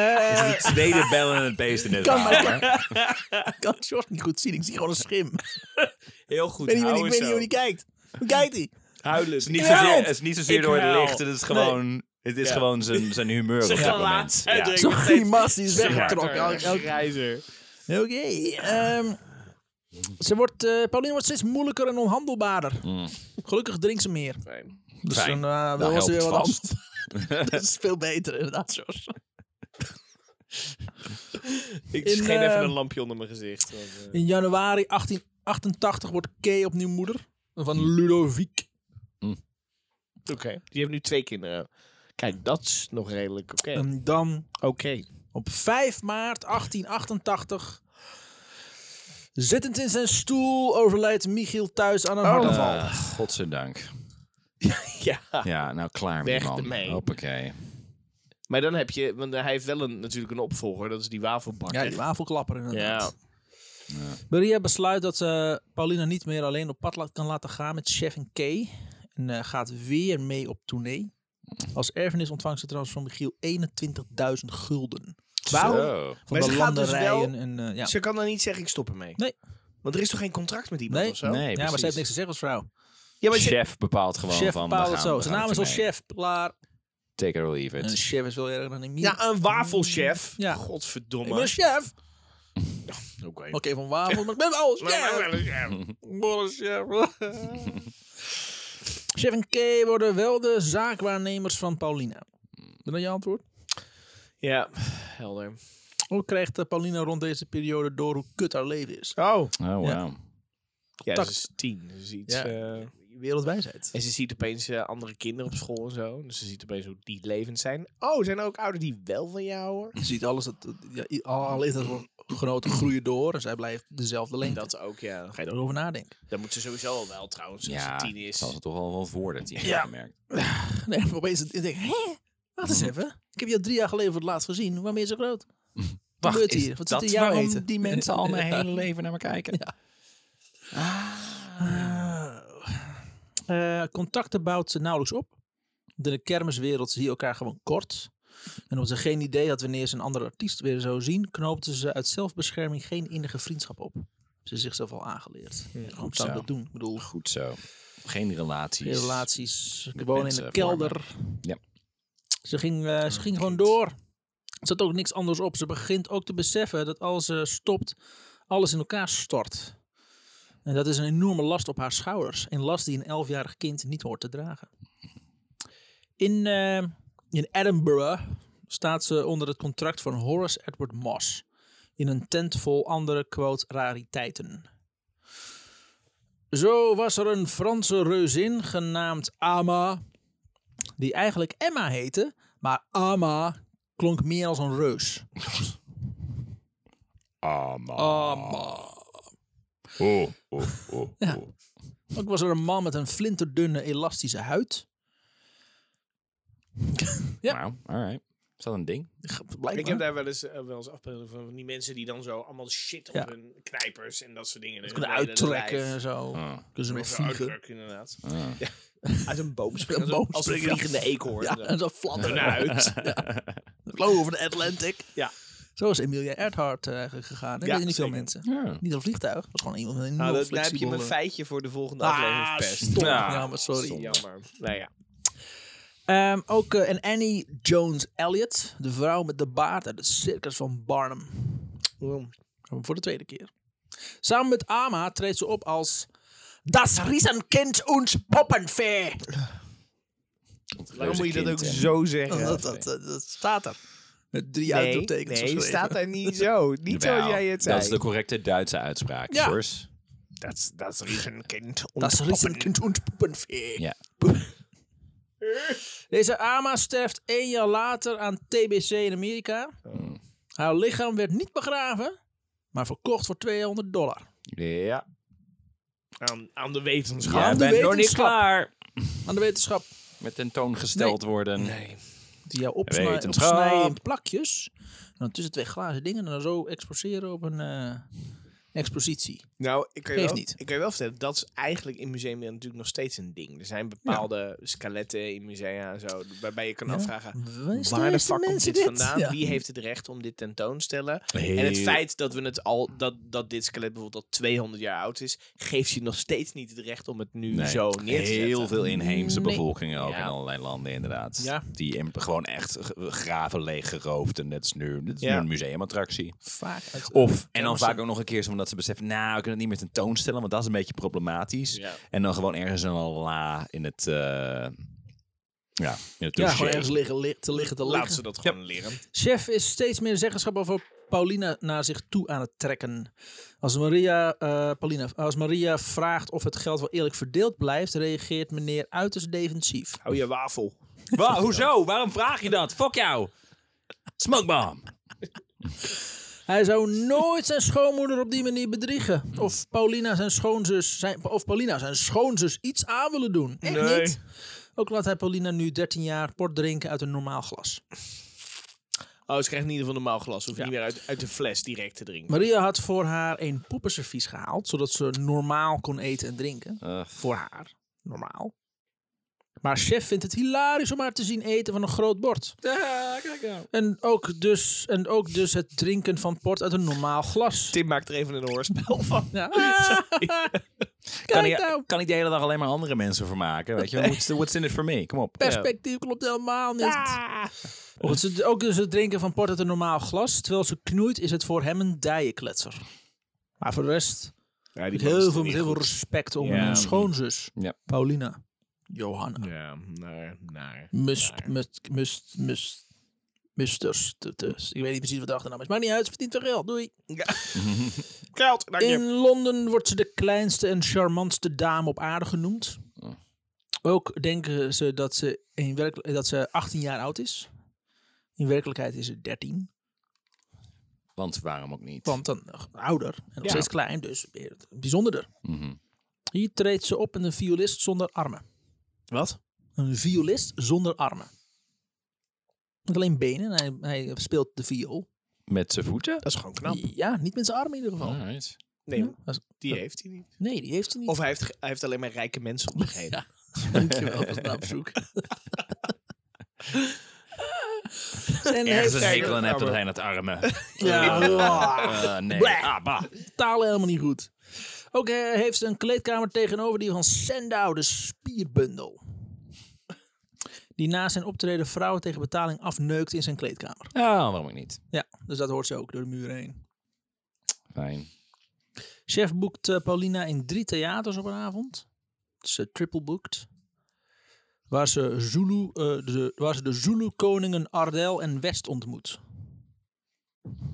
S2: De tweede bel en het beest in dit
S1: Kan
S2: verhaal,
S1: maar.
S2: hè?
S1: ik kan George niet goed zien. Ik zie gewoon een schim. Ik
S3: Heel
S2: Nou,
S3: goed.
S1: weet niet,
S3: hou
S1: ik weet niet
S3: zo.
S1: hoe die kijkt. Hoe kijkt hij?
S3: Huilen.
S2: Het is niet
S1: Ik
S2: zozeer,
S1: huil.
S2: het is niet zozeer
S3: Ik
S2: door het
S3: huil.
S2: licht. Het is gewoon, het is
S3: Ja.
S2: gewoon zijn, zijn humeur
S3: Zijn
S2: op dat moment.
S3: gelaatsuitdrukking.
S2: Ja.
S1: Zo'n grimas die is weggetrokken.
S3: Zwarter,
S1: Elk- elk-
S3: grijzer.
S1: Oké. ehm, ze wordt, eh Pauline wordt steeds moeilijker en onhandelbaarder. Gelukkig drinkt ze meer. Dus
S2: Mm. Fijn.
S1: dan eh,
S2: Nou,
S1: was ze weer
S2: helpt
S1: wat
S2: vast.
S1: af. [laughs] Dat is veel beter inderdaad, George.
S3: Ik
S1: In,
S3: scheen
S1: eh,
S3: even een lampje onder mijn gezicht. want, eh,
S1: In januari 1888 wordt Kay opnieuw moeder. Van Ludovic.
S3: Oké. Die heeft nu twee kinderen. Kijk, dat is nog redelijk oké.
S1: En dan
S3: Oké.
S1: Op 5 maart 1888. Zittend in zijn stoel overlijdt Michiel thuis
S3: Oh.
S1: aan een hartaanval.
S2: Eh,
S1: [laughs]
S2: godzijdank.
S3: Ja.
S2: Ja, nou klaar met
S3: Weg
S2: die man.
S3: ermee.
S2: Hoppakee.
S3: Maar dan heb je, want hij heeft wel een, natuurlijk een opvolger, dat is die
S1: ja,
S3: wafelbakker.
S1: die wafelklapper inderdaad.
S3: Ja.
S1: Maria besluit dat ze Paulina niet meer alleen op pad laat- kan laten gaan met Chef en Kay. En eh, gaat weer mee op tournee. Als erfenis ontvangt ze trouwens van Michiel 21.000 gulden.
S2: Zo.
S1: Van
S3: Maar
S1: de
S3: ze gaat dus
S1: landerijen en... eh, ja.
S3: Ze kan dan niet zeggen, ik stop ermee.
S1: Nee.
S3: Want er is toch geen contract met iemand
S1: Nee,
S3: of zo?
S2: Nee,
S1: ja, maar
S2: precies.
S1: ze heeft niks te zeggen als vrouw.
S3: Ja, maar ze-
S2: Chef bepaalt gewoon
S1: chef
S2: van... we
S1: bepaalt het
S2: gaan-
S1: zo.
S2: we
S1: Zijn
S2: gaan
S1: naam
S2: op
S1: is al
S2: tournee.
S1: chef, klaar.
S2: Take it or leave
S1: En een
S2: it.
S1: chef is wel erger dan een mier.
S3: ja, een wafelchef.
S1: Ja.
S3: Godverdomme.
S1: ik ben een chef. [laughs]
S3: Oké.
S1: Oké, van wafel, maar ik [laughs] ben alles. chef. Boris, chef.
S2: [laughs]
S1: Chef en Kay worden wel de zaakwaarnemers van Paulina.
S2: Hmm.
S1: Ben dat je antwoord?
S3: Ja, helder.
S1: Ook krijgt eh, Paulina rond deze periode door hoe kut haar leven is.
S3: Oh.
S2: Oh, wow.
S3: Ja,
S1: Tak.
S3: ze is tien. Ze is iets...
S1: Ja.
S3: eh,
S1: Wereldwijsheid.
S3: en ze ziet opeens eh, andere kinderen op school en zo. Dus ze ziet opeens hoe die levend zijn. Oh, zijn er ook ouders die wel van jou houden?
S1: Je ziet alles, dat, dat- ja, i- alle leeftijdsgenoten groeien door en zij blijft dezelfde lengte.
S2: Hmm.
S3: Dat ook, ja.
S1: Ga je erover nadenken?
S3: Dat moet ze sowieso al wel trouwens, als
S2: Ja,
S3: ze tien is.
S2: zal ze toch al wel worden, die
S1: Ja.
S2: ja. gemerkt.
S1: Nee, [laughs] maar opeens ik denk hé, wacht eens even. Ik heb je al drie jaar geleden voor het laatst gezien. Waarom ben je zo groot? Wat gebeurt hier? Wat zit er in jouw eten?
S2: die mensen al mijn
S1: Ja.
S2: [laughs] hele leven naar me kijken?
S1: Ah. Eh, contacten bouwt ze nauwelijks op. Want In de kermiswereld zie je elkaar gewoon kort. En omdat ze geen idee had wanneer ze een andere artiest weer zou zien, knoopte ze uit zelfbescherming geen innige vriendschap op. Ze is zichzelf al aangeleerd. Goed zou
S2: zo.
S1: dat doen. Ik bedoel,
S2: Goed zo. Geen relaties.
S1: relaties, gewoon in de
S2: mensen
S1: kelder.
S2: Ja. Ah,
S1: Ze ging, eh, ze ging gewoon door. Er zat ook niks anders op. Ze begint ook te beseffen dat als ze stopt, alles in elkaar stort. En dat is een enorme last op haar schouders. Een last die een elfjarig kind niet hoort te dragen. In, eh, in Edinburgh staat ze onder het contract van Horace Edward Moss. In een tent vol andere, quote, rariteiten. Zo was er een Franse reuzin genaamd Ama, die eigenlijk Emma heette, maar Ama klonk meer als een reus.
S2: Ama.
S1: Ah. Amma.
S2: Ah, Oh, oh, oh, oh.
S1: Ook was er een man met een flinterdunne elastische huid. Ja.
S2: Nou, alright. Is dat een ding?
S1: Blijkbaar.
S3: Ik heb daar wel eens, eh, wel eens afbeeldingen van, van die mensen die dan zo allemaal shit op
S1: Ja.
S3: hun knijpers en dat soort dingen.
S1: kunnen
S3: Hun hele
S1: uittrekken
S3: lijf.
S1: en zo.
S2: Ah,
S1: Kunnen ze nog
S3: Of zo
S1: vliegen.
S3: uitdrukken, inderdaad.
S2: ah.
S1: [laughs]
S3: Uit een boom springen.
S1: Een boom
S3: als een
S1: springen.
S3: vliegende eekhoorn.
S1: [laughs] Ja, en zo
S3: Zo.
S1: fladderen.
S3: Een
S1: [laughs]
S3: huid.
S1: Flow over de Atlantic.
S3: Ja.
S1: Zo is Emilia Earhart eh, eigenlijk gegaan. Ik
S3: Ja,
S1: weet niet veel
S3: zeker.
S1: mensen.
S2: Ja.
S1: Niet een vliegtuig. Dat is gewoon iemand met een eh,
S3: Nou,
S1: enorm
S3: dat, daar heb je
S1: flexibele-
S3: mijn feitje voor de volgende aflevering
S1: Ah,
S3: verpest.
S1: stom.
S2: Ja,
S1: Ja, maar sorry.
S3: Sorry, Jammer. Nou ja.
S1: Ehm, ook eh, en Annie Jones Elliott. De vrouw met de baard uit het circus van Barnum. Voor de tweede keer. Samen met Ama treedt ze op als... Das Riesenkind und Poppenfee.
S3: Waarom moet je dat
S2: Reuzenkind,
S3: ook
S2: hè?
S3: zo zeggen?
S1: Oh, Dat, dat, dat, dat staat er. Met drie
S3: nee,
S1: uitroeptekens
S3: nee,
S1: geschreven.
S3: staat daar niet zo. Niet
S2: Jawel,
S3: zoals jij het zei.
S2: Dat is de correcte Duitse uitspraak.
S1: Ja.
S2: Sjors.
S3: dat, is- dat is Riesenkind.
S1: Das Riesenkind und Puppenfee.
S2: Ja.
S1: [laughs] Deze Ama sterft één jaar later aan TBC in Amerika.
S3: Oh.
S1: Haar lichaam werd niet begraven, maar verkocht voor 200 dollar.
S2: Ja.
S3: Aan, aan de wetenschap.
S1: Ja,
S2: Jij
S1: de
S2: bent nog niet
S1: wetenschap.
S2: klaar.
S1: Aan de wetenschap
S2: Met tentoongesteld worden.
S3: Nee.
S1: die jou opsnijden
S2: Wetenschap.
S1: opsnijden in plakjes. En dan tussen twee glazen dingen en dan zo exposeren op een eh, expositie.
S3: Nou, ik kan, je
S1: Geeft
S3: wel,
S1: niet.
S3: ik kan je wel vertellen, dat is eigenlijk in musea natuurlijk nog steeds een ding. Er zijn bepaalde skeletten in musea en zo, waarbij je kan afvragen, waar de fuck komt dit vandaan?
S1: Ja.
S3: Wie heeft het recht om dit tentoon te stellen?
S2: Heel-
S3: En het feit dat, we het al, dat, dat dit skelet bijvoorbeeld al 200 jaar oud is, geeft je nog steeds niet het recht om het nu
S2: Nee.
S3: zo neer te zetten.
S2: Heel veel inheemse
S1: Nee.
S2: bevolkingen ook
S3: Ja.
S2: in allerlei landen inderdaad.
S1: Ja.
S2: Die in- gewoon echt g- graven leeggeroofd. En dat is nu, dat is
S3: Ja.
S2: nu een museumattractie.
S1: Vaak uit,
S2: Of, en dan
S1: maar
S2: vaak
S1: ze-
S2: ook nog een keer zo omdat ze beseffen, nou, we kunnen het niet meer tentoonstellen, want dat is een beetje problematisch.
S3: Ja.
S2: En dan gewoon ergens een la in het, eh, ja, in het
S1: ja,
S2: dossier.
S1: gewoon ergens liggen, li- te liggen te
S3: Laat
S1: liggen.
S3: ze dat gewoon leren.
S1: Chef is steeds meer zeggenschap over Paulina naar zich toe aan het trekken. Als Maria, eh, Paulina, als Maria vraagt of het geld wel eerlijk verdeeld blijft, reageert meneer uiterst defensief.
S3: Hou je wafel.
S2: Wa- hoezo? Waarom vraag je dat? Fuck jou! Smokebomb!
S1: Hij zou nooit zijn schoonmoeder op die manier bedriegen. Of Paulina zijn schoonzus, zijn, of Paulina zijn schoonzus iets aan willen doen. Echt
S3: Nee.
S1: niet. Ook laat hij Paulina nu 13 jaar port drinken uit een normaal glas.
S3: Oh, ze krijgt in ieder geval een normaal glas. Hoef je
S1: Ja.
S3: niet meer uit, uit de fles direct te drinken.
S1: Maria had voor haar een poppenservies gehaald, zodat ze normaal kon eten en drinken. Voor haar. Normaal. Maar chef vindt het hilarisch om haar te zien eten van een groot bord. En ook dus, en ook dus het drinken van port uit een normaal glas.
S3: Tim maakt er even een hoorspel van.
S1: Ja.
S2: [laughs]
S1: [laughs]
S2: Kan,
S1: Kijk
S2: ik,
S1: nou,
S2: kan ik de hele dag alleen maar andere mensen vermaken? Weet je? What's, what's in it for me? Kom op.
S1: perspectief klopt helemaal niet. Ook, het, ook dus het drinken van port uit een normaal glas. Terwijl ze knoeit is het voor hem een dijenkletser. Maar voor de rest
S3: Ja,
S1: met heel veel, met heel veel respect om
S3: Ja.
S1: hun schoonzus.
S2: Ja.
S1: Paulina. Johanna.
S3: Ja, naar, naar.
S1: Must, must, must, must. Musters. t- t- Ik weet niet precies wat de achternaam is. Maar niet uit, ze verdient veel geld. Doei.
S3: Geld, dank je.
S1: In Londen wordt ze de kleinste en charmantste dame op aarde genoemd.
S3: Oh.
S1: Ook denken ze dat ze, in werkel- dat ze 18 jaar oud is. In werkelijkheid is ze 13.
S2: Want waarom ook niet?
S1: Want dan nog ouder en nog
S3: Ja.
S1: steeds klein, dus weer bijzonderder.
S2: Mhm.
S1: Hier treedt ze op met een violist zonder armen.
S3: Wat?
S1: Een violist zonder armen. Met alleen benen. en Hij, hij speelt de viool.
S2: Met zijn voeten?
S3: Dat is gewoon knap.
S1: Ja, niet met zijn armen in ieder geval.
S2: Alright.
S3: Nee,
S1: Ja, dat is-
S3: die heeft hij niet.
S1: nee, die heeft hij niet.
S3: Of [laughs] hij heeft, ge- hij heeft alleen maar rijke
S1: [laughs]
S3: mensen omgegeven.
S1: dankjewel, dat is [laughs] een bezoek. en
S2: Ergens een
S1: heeft
S2: hekel aan hebben dat hij het armen.
S1: Ja.
S2: Eh, nee.
S1: Bleh.
S2: Ah, bah.
S1: talen helemaal niet goed. Ook eh, heeft ze een kleedkamer tegenover die van Sandow, de spierbundel. Die na zijn optreden vrouwen tegen betaling afneukt in zijn kleedkamer.
S2: Ja, waarom ook niet?
S1: Ja, dus dat hoort ze ook door de muur heen.
S2: Fijn.
S1: Chef boekt eh, Paulina in drie theaters op een avond. Ze triple boekt. Waar ze, Zulu, eh, de, waar ze de Zulu-koningen Ardel en West ontmoet.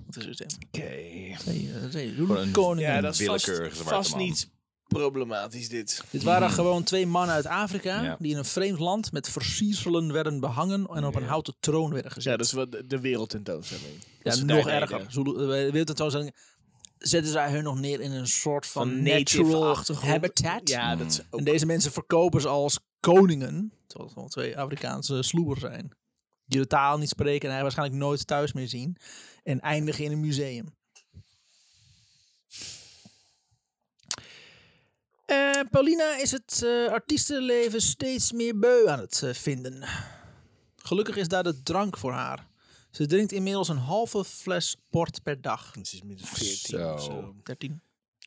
S1: Wat is het? hè?
S2: Oké.
S1: Twee, eh, twee
S2: Voor een-
S1: eh, Zulu-koningen.
S3: Ja, dat is vast,
S2: willekeurig zwarte
S3: vast
S2: man.
S3: niet problematisch dit.
S1: Dit waren gewoon twee mannen uit Afrika
S2: Ja.
S1: die in een vreemd land met versierselen werden behangen en op een houten troon werden gezet.
S3: Ja, dat is wat de- de wereldtentoonstelling.
S1: Ja,
S3: Dat ze
S1: nog
S3: daar
S1: erger.
S3: deden.
S1: Zulu, eh, bij de wereldtentoonstelling zetten zij hun nog neer in een soort van,
S3: Van Hmm. native
S1: natural
S3: achtergrond.
S1: habitat.
S3: Ja, dat is ook...
S1: En deze mensen verkopen ze als koningen, terwijl het wel twee Afrikaanse sloebers zijn, die de taal niet spreken en hij waarschijnlijk nooit thuis meer zien en eindigen in een museum. Eh, Paulina is het eh, artiestenleven steeds meer beu aan het eh, vinden. Gelukkig is daar de drank voor haar. Ze drinkt inmiddels een halve fles port per dag.
S3: Ze is minstens 14 of
S2: Zo.
S3: zo.
S1: 13.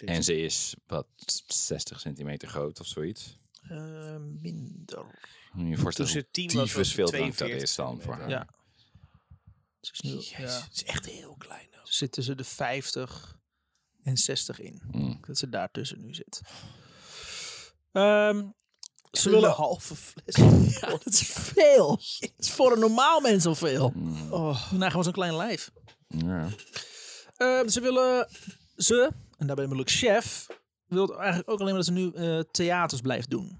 S2: En ze is, wat, 60 centimeter groot of zoiets.
S1: eh, minder.
S2: Moet je je voorstellen
S3: ze
S2: hoe
S3: tien was, was
S2: tyfus
S3: ze
S2: veel drank dat
S3: 42
S2: is dan voor haar.
S1: Ja. Ze is nu, ja.
S3: Het is echt heel klein ook.
S1: Ze zit tussen de 50 en 60 in. Dat ze daartussen nu zit. Ehm, ze willen
S3: Een
S1: halve fles. [laughs] ja, dat is veel. Dat is voor een normaal mens al veel. Oh. Nou, gewoon zo'n klein lijf.
S2: Ja.
S1: Ehm, ze willen... Ze, en daarbij bedoel ik chef... wil eigenlijk ook alleen maar dat ze nu eh, theaters blijft doen.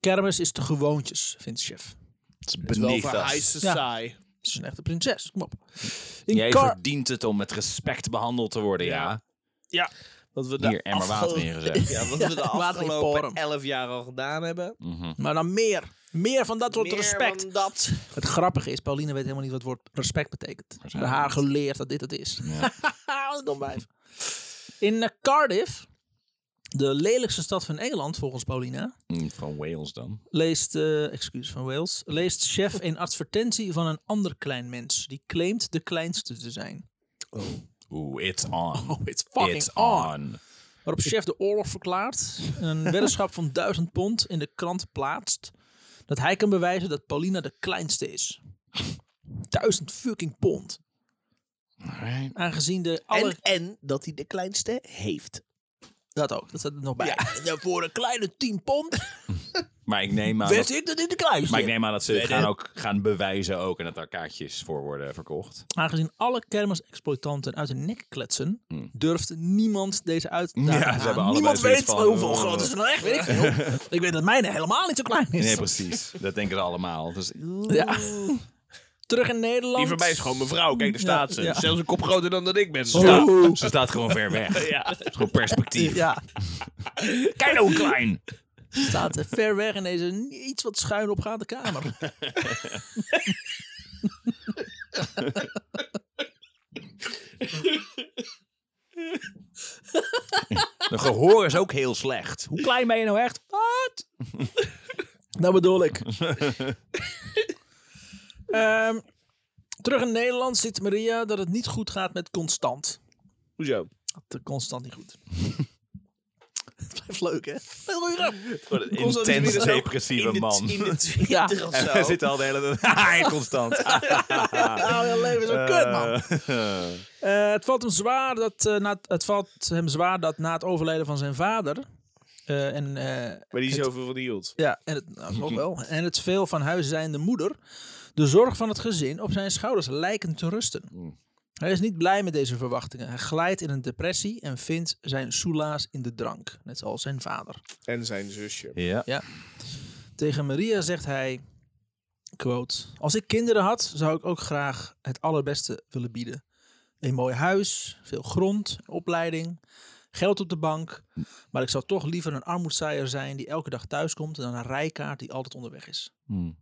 S1: Kermis is te gewoontjes, vindt chef.
S2: Het is
S3: Het is wel
S2: beneath
S3: voor high
S2: us.
S3: society.
S1: Ze is een echte prinses, kom op. In
S2: Jij
S1: Car-
S2: verdient het om met respect behandeld te worden, ja.
S1: Ja.
S3: Wat we de
S2: Hier emmer water
S3: afgel-
S2: ingezet.
S3: [laughs] Ja, wat we de
S1: Water in
S3: afgelopen
S1: Porum.
S3: 11 jaar al gedaan hebben.
S2: Mm.
S1: Maar dan meer. Meer van dat soort
S3: Meer
S1: respect.
S3: dan dat.
S1: Het grappige is, Pauline weet helemaal niet wat het woord respect betekent. Bij
S2: Waarschijnlijk
S1: haar
S2: niet.
S1: geleerd dat dit het is. [laughs]
S2: Ja.
S1: Wat een dom wijf. In eh, Cardiff, de lelijkste stad van Engeland volgens Paulina,
S2: Mm, Van Wales dan.
S1: leest, eh excuus van Wales, leest chef een advertentie van een ander klein mens. Die claimt de kleinste te zijn.
S2: Oeh, it's on.
S1: Oh, it's fucking
S2: it's
S1: on.
S2: on.
S1: Waarop chef de oorlog verklaart,
S2: [laughs]
S1: een weddenschap van 1000 pond in de krant plaatst, dat hij kan bewijzen dat Paulina de kleinste is. 1000 fucking pond.
S2: Alright.
S1: Aangezien de alle...
S3: En, en dat hij de kleinste heeft.
S1: Dat ook, dat staat er nog bij. [laughs] En voor een kleine 10 pond
S2: Maar ik neem aan
S1: weet
S2: Ah, dat,
S1: ik dat in de kluis
S2: maar ik neem aan dat ze het gaan, ook, gaan bewijzen ook en dat daar kaartjes voor worden verkocht.
S1: Aangezien alle kermisexploitanten uit hun nek kletsen, durft niemand deze uitdaging
S2: Hmm. Ja, ze
S1: aan.
S2: hebben allebei
S1: Ah, Niemand
S2: zoiets
S1: weet
S2: van,
S1: hoeveel
S2: eh,
S1: groot is nou echt, weet ik
S2: [laughs]
S1: veel. ik weet dat mijne helemaal niet zo klein is. Oh,
S2: Nee, precies. Dat denken ze allemaal. Dus,
S1: ja. Terug in Nederland.
S3: Die van mij is gewoon mijn vrouw. Kijk, daar
S1: Ja,
S3: staat ze.
S1: ja.
S3: Zelfs een kop groter dan dat ik ben.
S2: Ja,
S3: Ja.
S2: ze staat gewoon ver weg.
S3: [laughs] Ja.
S2: Het is gewoon perspectief.
S1: Ja,
S2: Kijk nou hoe klein.
S1: staat eh, ver weg in deze iets wat schuin opgaande kamer.
S2: Mijn gehoor is ook heel slecht. [laughs] Hoe klein ben je nou echt?
S1: [laughs]
S2: Wat?
S1: Dat Nou bedoel
S2: [laughs]
S1: ik. Ehm, terug in Nederland ziet Maria dat het niet goed gaat met Constant.
S3: Hoezo?
S1: Dat constant niet
S2: [laughs]
S1: goed. [laughs] Het blijft leuk, hè? Goeie
S2: Intens depressieve man.
S3: In [laughs] de
S1: Ja.
S3: twintig of
S2: [laughs] En we
S3: zo.
S2: zitten al de hele tijd [laughs] Haha, constant.
S1: Nou, je leven is een kut, man. Eh, het, valt hem zwaar dat, eh, na, het valt hem zwaar dat na het overlijden van zijn vader... eh, en, eh,
S3: Maar die zoveel van die hield.
S1: ja, en het, nou,
S3: [laughs]
S1: ook wel. En het veel van huis zijnde moeder... de zorg van het gezin op zijn schouders lijken te rusten.
S3: Mm.
S1: Hij is niet blij met deze verwachtingen. Hij glijdt in een depressie en vindt zijn soelaas in de drank. Net zoals zijn vader.
S3: En zijn zusje.
S2: [laughs] Ja.
S1: Tegen Maria zegt hij, quote, als ik kinderen had, zou ik ook graag het allerbeste willen bieden. Een mooi huis, veel grond, een opleiding, geld op de bank. Maar ik zou toch liever een armoedzaaier zijn die elke dag thuiskomt dan een rijkaard die altijd onderweg is.
S2: Hmm.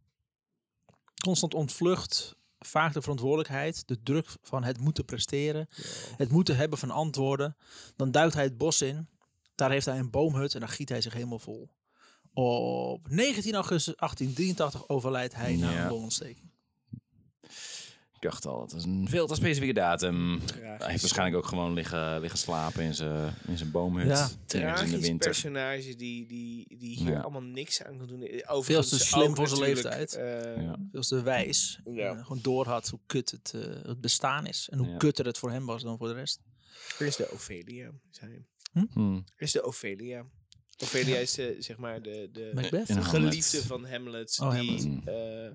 S1: Constant ontvlucht vaak de verantwoordelijkheid, de druk van het moeten presteren, het moeten hebben van antwoorden. Dan duikt hij het bos in, daar heeft hij een boomhut en daar giet hij zich helemaal vol. Op 19 augustus 1883 overlijdt hij na
S2: Ja.
S1: een longontsteking.
S2: Ik dacht al, het is een veel te specifieke datum.
S3: Tragisch.
S2: Hij heeft waarschijnlijk ook gewoon liggen, liggen slapen in zijn, in zijn boomhut.
S1: Ja.
S2: Ergens in de
S3: Tragisch
S2: winter.
S3: personage die, die, die hier
S2: Ja.
S3: allemaal niks aan kan doen. Eh,
S1: Veel
S3: Overigens
S1: te slim
S3: ook
S1: voor zijn
S3: natuurlijk,
S1: leeftijd.
S3: eh,
S2: Ja.
S1: Veel te wijs.
S3: Ja.
S1: Eh, gewoon doorhad hoe kut het, eh, het bestaan is. En hoe
S2: Ja.
S1: kutter het voor hem was dan voor de rest.
S3: Er is de Ophelia. zei hij.
S2: Hmm.
S3: Er is de Ophelia. Ophelia is de, zeg maar de, de
S1: Macbeth?
S2: In Hamlet.
S3: geliefde van Hamlet.
S1: Oh,
S3: die, eh,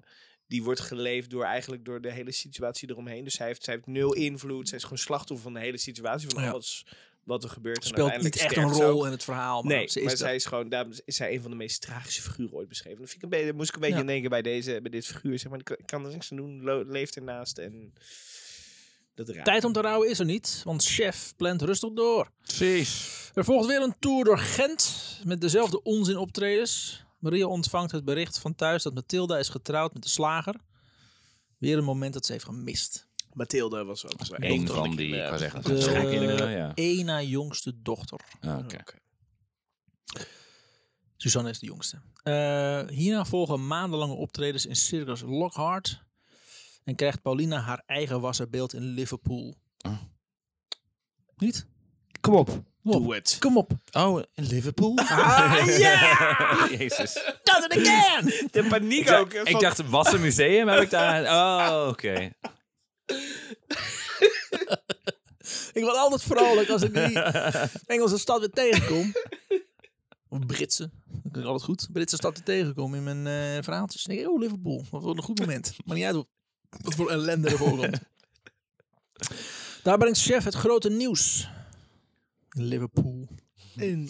S3: die wordt geleefd door eigenlijk door de hele situatie eromheen. Dus hij heeft, zij heeft nul invloed. Zij is gewoon slachtoffer van de hele situatie. Van
S1: Ja.
S3: alles wat er gebeurt. en
S1: Speelt niet
S3: uiteindelijk
S1: echt een
S3: sterft
S1: rol
S3: ook.
S1: in het verhaal, maar
S3: Nee,
S1: ze is
S3: maar
S1: dat.
S3: zij is gewoon, daarom is zij een van de meest tragische figuren ooit beschreven. Dat vind ik een beetje, moest ik een beetje
S1: Ja.
S3: denken bij, deze, bij dit figuur. Zeg maar, ik kan- ik kan er niks aan doen, lo- leeft ernaast en dat raakt.
S1: Tijd om te rouwen is er niet, want chef plant rustig door.
S2: Precies.
S1: Er volgt weer een tour door Gent met dezelfde onzin optredens. Maria ontvangt het bericht van thuis dat Mathilda is getrouwd met de slager. Weer een moment dat ze heeft gemist.
S3: Mathilde was ook zo.
S2: Eén van die, ik kan zeggen,
S1: De-
S3: Eh,
S2: scheikkinderen, ja.
S1: Eén na jongste dochter.
S2: Ah, Oké.
S1: Suzanne is de jongste. Eh, hierna volgen maandenlange optredens in Circus Lockhart. En krijgt Paulina haar eigen wasserbeeld in Liverpool.
S2: Ah.
S1: Niet?
S3: Kom op, doe het.
S1: [laughs] Kom
S3: [laughs]
S1: op. Ah,
S2: Oh, in Liverpool? Jezus.
S1: Dat het again!
S3: [laughs] De paniek
S2: Ik,
S3: ook. hè, van-
S2: dacht, wat een museum heb ik
S3: [laughs]
S2: daar? Oh, oké.
S1: Ik word altijd vrolijk als ik die Engelse stad weer tegenkom. Of Britse. Dat klinkt altijd goed. Britse stad weer tegenkom in mijn eh, verhaaltjes. Dan denk ik, oh Liverpool, wat wordt een goed moment. Maar niet uit wat- wat voor ellende ervoor komt. Daar brengt chef het grote nieuws. In Liverpool.
S3: In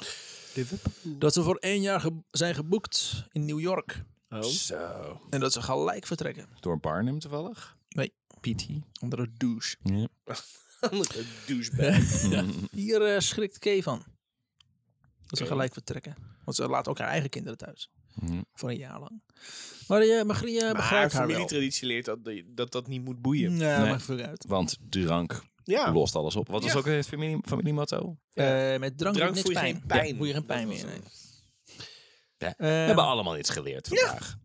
S1: Dat ze voor één jaar ge- zijn geboekt in New York.
S3: Oh. [laughs]
S2: Zo.
S1: En dat ze gelijk vertrekken.
S2: Door Barnum toevallig?
S1: Nee.
S2: PT.
S1: Onder de douche.
S2: Ja.
S3: andere douchebag.
S1: Hier eh, schrikt Kay van. Dat ze gelijk vertrekken. Want ze laat ook haar eigen kinderen thuis.
S2: Mhm.
S1: Voor een jaar lang. Maar je Magria
S3: Maar haar
S1: begrijpt haar wel.
S3: familietraditie leert dat, dat dat niet moet boeien.
S1: Nee,
S2: Nee.
S1: maakt veel uit.
S2: Want drank
S3: Ja.
S2: lost alles op. Wat was
S3: Ah. Ja.
S2: ook eh, het familie, familiemotto?
S1: Eh, met drank,
S3: Drank
S1: doet niks
S3: voel je
S1: pijn.
S3: geen pijn.
S1: Ja, voel je geen
S3: Dat
S1: pijn
S3: was
S1: meer. nee.
S3: het.
S2: Ja. We
S1: Eh,
S2: hebben allemaal iets geleerd vandaag.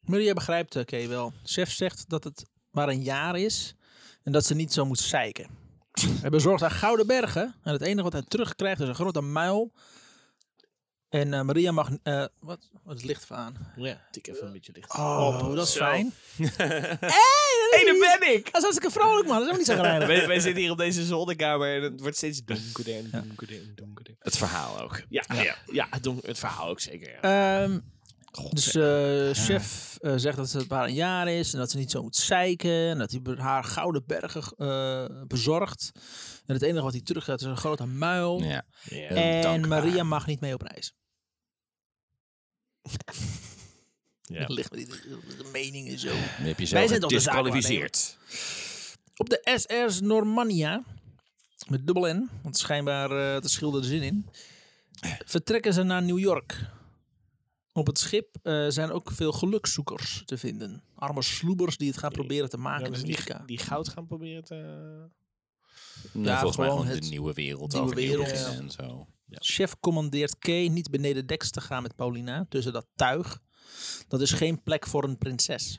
S1: Maria begrijpt eh, Kay wel. Chef zegt dat het maar een jaar is. En dat ze niet zo moet zeiken.
S2: [laughs]
S1: Hij bezorgt haar gouden bergen. En het enige wat hij terugkrijgt is een grote muil. En eh, Maria mag... eh, wat? wat het licht even aan.
S3: Ja, tik even een beetje licht.
S1: Oh, dat is
S3: zo. [laughs]
S1: fijn.
S3: Hé, daar ben ik!
S1: Dat is hartstikke vrolijk, man. Dat is ook niet zo geinig.
S3: Wij, wij zitten hier op deze zolderkamer en het wordt steeds donkerder en donkerder en donkerder.
S2: Het verhaal ook.
S3: Ja, ja. ja het, don- het verhaal ook zeker. Ja.
S1: Ehm, dus eh, chef eh, zegt dat het maar een jaar is en dat ze niet zo moet zeiken. En dat hij be- haar gouden bergen eh, bezorgt. En het enige wat hij terug gaat is een grote muil.
S2: Ja.
S3: Ja.
S1: Oh. en
S2: dankbaar.
S1: Maria mag niet mee op reis. [laughs]
S3: Ja.
S1: Dat ligt met die- de mening en zo.
S2: Dan Ah, heb
S1: Wij
S2: je zelf
S1: zijn toch de
S2: gedisqualificeerd.
S1: Op de SR's Normannia, met dubbel N, want schijnbaar eh dat scheelde er zin in, vertrekken ze naar New York. Op het schip eh, zijn ook veel gelukszoekers te vinden. Arme sloebers die het gaan proberen te maken
S3: Ja,
S1: in
S3: dus
S1: Amerika.
S3: die, die goud gaan proberen te...
S2: Nou,
S1: Ja,
S2: volgens mij
S1: gewoon
S2: gewoon de
S1: het-
S2: nieuwe wereld
S1: nieuwe
S2: overnieuw
S1: wereld.
S2: beginnen en zo.
S1: Chef commandeert Kay niet beneden deks te gaan met Paulina, tussen dat tuig. Dat is geen plek voor een prinses.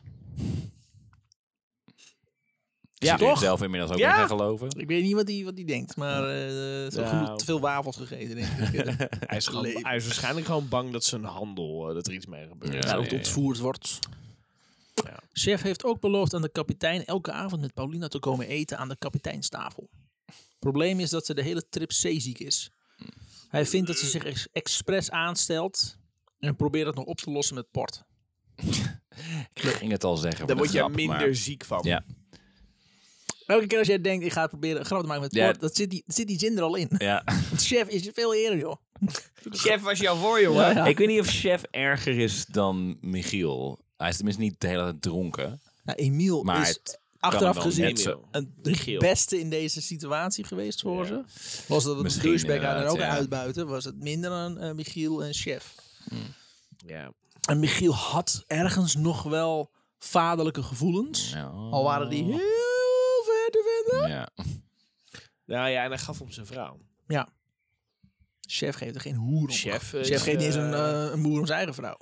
S2: Ja,
S1: Ja, toch?
S2: zelf inmiddels ook
S3: Ja.
S2: in gaan geloven.
S1: Ik weet niet wat die, wat die denkt, maar eh ze heeft
S3: Nou.
S1: genoeg- te veel wafels gegeten, denk ik.
S3: [laughs]
S1: Ja,
S3: Hij is, gewoon,
S1: Leven.
S3: hij is waarschijnlijk gewoon bang dat zijn handel, eh, dat er iets mee gebeurt.
S2: Ja.
S1: dat het Nou, ontvoerd wordt.
S3: Ja.
S1: Chef heeft ook beloofd aan de kapitein elke avond met Paulina te komen eten aan de kapiteinstafel. Probleem is dat ze de hele trip zeeziek is. Hij vindt dat ze zich ex- expres aanstelt en probeert het nog op te lossen met port.
S2: Ik ging het al zeggen.
S3: Daar
S2: voor
S3: word
S2: de
S3: je
S2: grap,
S3: minder
S2: maar-
S3: ziek van.
S2: Ja.
S1: Elke keer als jij denkt, ik ga het proberen een grap te maken met
S2: Ja.
S1: port, dat zit, die, zit die zin er al in. [laughs]
S2: [laughs] Ja.
S1: Want chef is veel eerder, joh.
S3: Chef was jouw voor, jongen.
S2: Ik weet niet of chef erger is dan Michiel. Hij is tenminste niet de hele tijd dronken.
S1: Nou, Emiel
S2: Maar
S1: is
S2: het
S1: achteraf
S2: kan wel
S1: gezien
S2: net zo.
S1: een,
S3: Michiel.
S1: de beste in deze situatie geweest voor ze. Was dat het een
S2: Misschien
S1: douchebag
S3: eh,
S1: aan en
S2: inderdaad,
S1: ook een
S2: ja.
S1: uitbuiten, was het minder dan eh, Michiel en chef.
S3: Ja.
S1: En Michiel had ergens nog wel vaderlijke gevoelens. Al waren die heel ver te vinden.
S2: Ja.
S3: Nou ja, en hij gaf om zijn vrouw.
S1: Ja. Chef geeft er geen hoer om.
S3: Chef, eh,
S1: Chef
S3: is,
S1: geeft niet eens een,
S3: eh,
S1: eh, een boer om zijn eigen vrouw.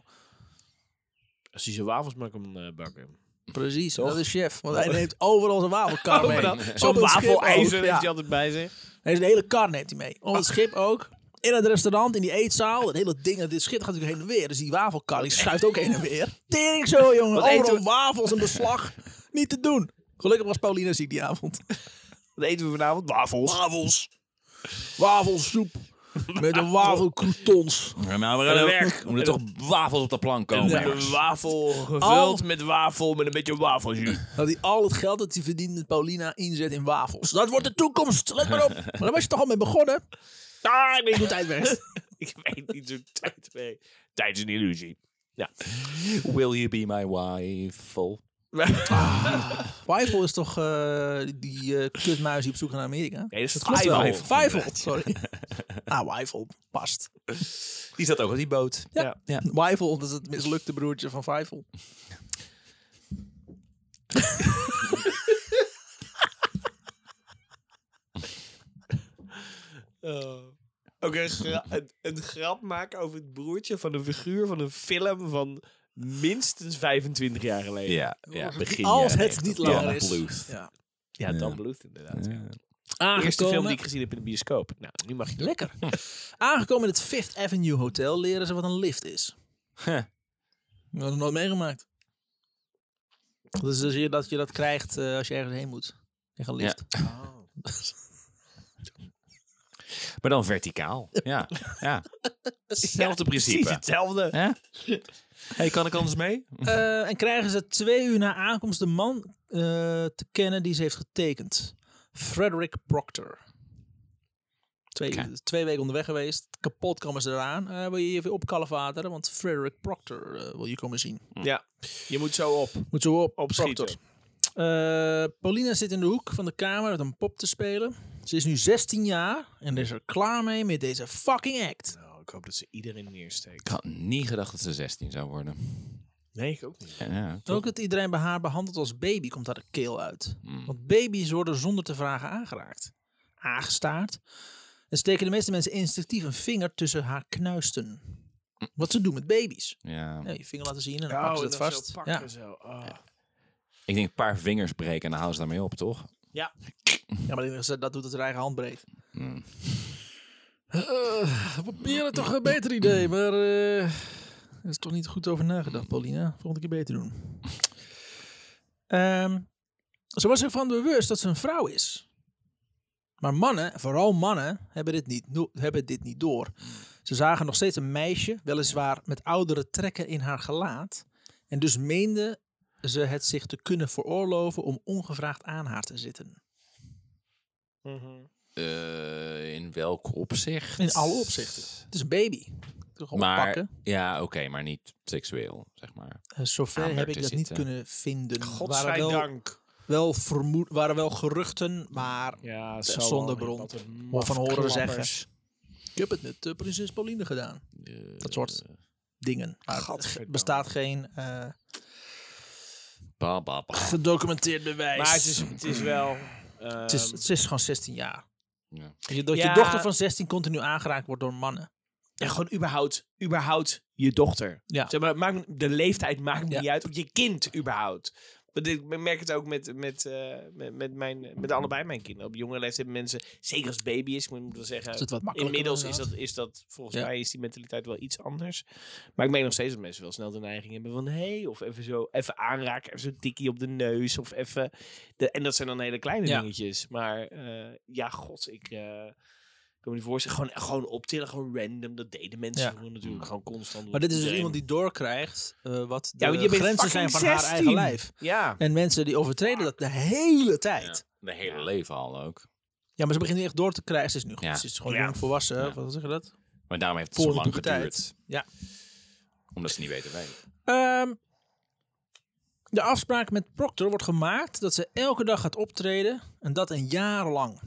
S3: Als hij zijn wafels maar kan eh, bakken.
S1: Precies,
S3: Toch?
S1: dat is chef. Want [laughs] hij neemt overal zijn wafelkar mee.
S3: Overal.
S1: Op
S3: Zo'n
S1: het schip ook,
S3: wafelijzer heeft
S1: ja.
S3: hij altijd bij zich.
S1: Nee, zijn hele kar neemt hij mee. Op
S3: Ah.
S1: het schip ook. In het restaurant, in die eetzaal. Het hele ding, dit schip gaat natuurlijk heen en weer. Dus die wafelkar, die schuift ook heen en weer. Tering
S3: [laughs]
S1: zo, jongen.
S3: Wat eten
S1: Overal
S3: we?
S1: wafels en beslag. Niet te doen. Gelukkig was Paulina ziek die avond.
S3: Wat eten we vanavond? Wafels.
S1: Wafels. Wafelsoep. Met
S3: [laughs]
S1: een wafelcroutons.
S2: Ja, maar nou, we gaan
S3: En
S2: naar
S3: de
S2: werk.
S3: werk.
S2: Omdat er toch wafels op de plank komen.
S1: Ja.
S2: jongens.
S3: wafel gevuld
S1: Al-
S3: met wafel, met een beetje wafeljus.
S1: Dat hij al het geld dat hij verdient met Paulina inzet in wafels. Dat wordt de toekomst, let
S3: [laughs]
S1: maar op. Maar daar was je toch al mee begonnen? Ah, ik weet hoe tijd werkt.
S3: ik weet niet hoe tijd werkt. Tijd is een illusie.
S2: Will you be my wife?
S1: Wijfel is toch eh, die eh, kutmuis die op zoek gaat naar Amerika?
S3: Nee, dat is het
S1: Klopt wel.
S3: Wijfel.
S1: Wijfel, sorry. Ah, Wijfel, past.
S2: Die zat ook op die boot.
S1: Ja.
S2: Ja.
S1: Wijfel, dat is het mislukte broertje van Wijfel.
S3: Oh. Ook
S1: [laughs]
S3: een, gra- een, een grap maken over het broertje van een figuur van een film van minstens 25 jaar geleden.
S2: Ja, ja Oh, begin
S1: Als
S2: jaren
S1: het niet
S2: 90.
S1: langer
S2: Donald
S1: is.
S2: Bluth.
S1: Ja.
S3: Ja,
S2: Ja.
S3: dan bloedt inderdaad.
S2: Ja.
S3: De eerste
S1: Aangekomen-
S3: film die ik gezien heb in de bioscoop. Nou, nu mag je
S1: [laughs]
S3: door.
S1: Lekker. Aangekomen in het Fifth Avenue Hotel leren ze wat een lift is.
S2: Huh.
S1: We hadden nooit meegemaakt. Dus dat je dat, je dat krijgt eh, als je ergens heen moet. Krijg een lift.
S2: Maar dan verticaal. Ja, ja. Hetzelfde
S3: [laughs] Precies
S2: principe.
S3: hetzelfde.
S2: Hè? [laughs] Hey, kan ik anders mee?
S1: Eh, en krijgen ze twee uur na aankomst de man eh, te kennen die ze heeft getekend. Frederick Proctor. Twee,
S2: Oké.
S1: twee weken onderweg geweest. Kapot komen ze eraan. Eh, wil je je even opkalfateren? Want Frederick Proctor eh, wil je komen zien.
S3: Ja, je moet zo op.
S1: Moet zo op,
S3: Opschieten.
S1: Proctor. Eh, Paulina zit in de hoek van de kamer met een pop te spelen. Ze is nu 16 jaar en is er klaar mee met deze fucking act.
S3: Nou, ik hoop dat ze iedereen neersteekt.
S2: Ik had niet gedacht dat ze 16 zou worden.
S3: Nee, ik ook niet.
S2: Ja,
S1: Ook dat iedereen bij haar behandeld als baby komt haar de keel uit. Want baby's worden zonder te vragen aangeraakt. Aangestaard. En steken de meeste mensen instinctief een vinger tussen haar knuisten. Wat ze doen met baby's.
S2: ja.
S1: Ja, je vinger laten zien en dan pakken ze dat vast. Ja.
S3: Oh, zo. Oh.
S2: Ik denk een paar vingers breken en dan houden ze daarmee op, toch?
S1: Ja, maar ik denk dat ze- dat doet het haar eigen hand breed. Eh, we proberen toch een beter idee, maar eh, er is toch niet goed over nagedacht, Paulina. Volgende keer beter doen. Ehm, ze was ervan bewust dat ze een vrouw is. Maar mannen, vooral mannen, hebben dit niet, no- hebben dit niet door. Ze zagen nog steeds een meisje, weliswaar met oudere trekken in haar gelaat. En dus meenden ze het zich te kunnen veroorloven om ongevraagd aan haar te zitten.
S3: Mhm.
S2: Eh, in welk opzicht?
S1: In alle opzichten. Het is een baby. Toch
S2: Maar,
S1: oppakken.
S2: ja, oké, maar niet seksueel, zeg maar.
S1: Eh, zover
S2: Aanmerk
S1: heb ik
S2: te
S1: dat niet
S2: zitten.
S1: kunnen vinden. waren wel,
S3: Godzijdank.
S1: wel vermoed, waren wel geruchten, maar
S3: Ja,
S1: zo zonder lang. bron. Wat van horen zeggen. Ik heb het met de prinses Pauline gedaan.
S2: Eh,
S1: Dat soort dingen. Maar er
S3: Gadverdamme.
S1: bestaat geen eh,
S2: ba, ba, ba.
S1: gedocumenteerd bewijs.
S3: Maar het is, het is wel... ehm,
S1: het, is, het is gewoon 16 jaar.
S2: Ja.
S1: Je, dat
S3: Ja.
S1: je dochter van 16 continu aangeraakt wordt door mannen.
S3: ja, gewoon überhaupt, überhaupt je dochter.
S1: Ja.
S3: Zeg maar, maakt, de leeftijd maakt me
S1: Ja.
S3: niet uit. Of je kind überhaupt. Want ik merk het ook met, met, eh, met, met, mijn, met allebei mijn kinderen. Op jonge leeftijd hebben mensen, zeker als het baby is, moet ik wel zeggen.
S1: Is het wat makkelijker
S3: Eh, Inmiddels is
S1: inderdaad?
S3: dat, is dat, volgens
S1: Ja.
S3: mij is die mentaliteit wel iets anders. Maar ik meen nog steeds dat mensen wel snel de neiging hebben van... hé, hey, of even zo, even aanraken, even zo'n tikkie op de neus. Of even... De, en dat zijn dan hele kleine
S1: Ja.
S3: dingetjes. Maar eh, ja, god, ik... eh ik kan me niet voorstellen, gewoon, gewoon optillen, gewoon random. Dat deden mensen
S1: Ja. Mm.
S3: vroeger natuurlijk gewoon constant.
S1: Maar dit is dus
S3: Iedereen-
S1: iemand die doorkrijgt eh, wat de
S3: Ja, want je bent
S1: grenzen zijn van
S3: fucking
S1: haar eigen
S3: 16.
S1: lijf.
S3: Ja.
S1: En mensen die overtreden dat de hele tijd.
S2: Ja, De hele leven al ook.
S1: Ja, maar ze begint nu echt door te krijgen. Ze is nu
S2: Ja.
S1: ze is gewoon
S3: Ja.
S1: jong volwassen.
S2: Ja.
S1: of Wat zeg je dat?
S2: Maar daarom heeft het
S1: Voor
S2: zo
S1: de
S2: lang
S1: puberteit.
S2: geduurd.
S1: Ja.
S2: Omdat ze niet weten wij.
S1: Ehm, de afspraak met Proctor wordt gemaakt dat ze elke dag gaat optreden. En dat een jaar lang.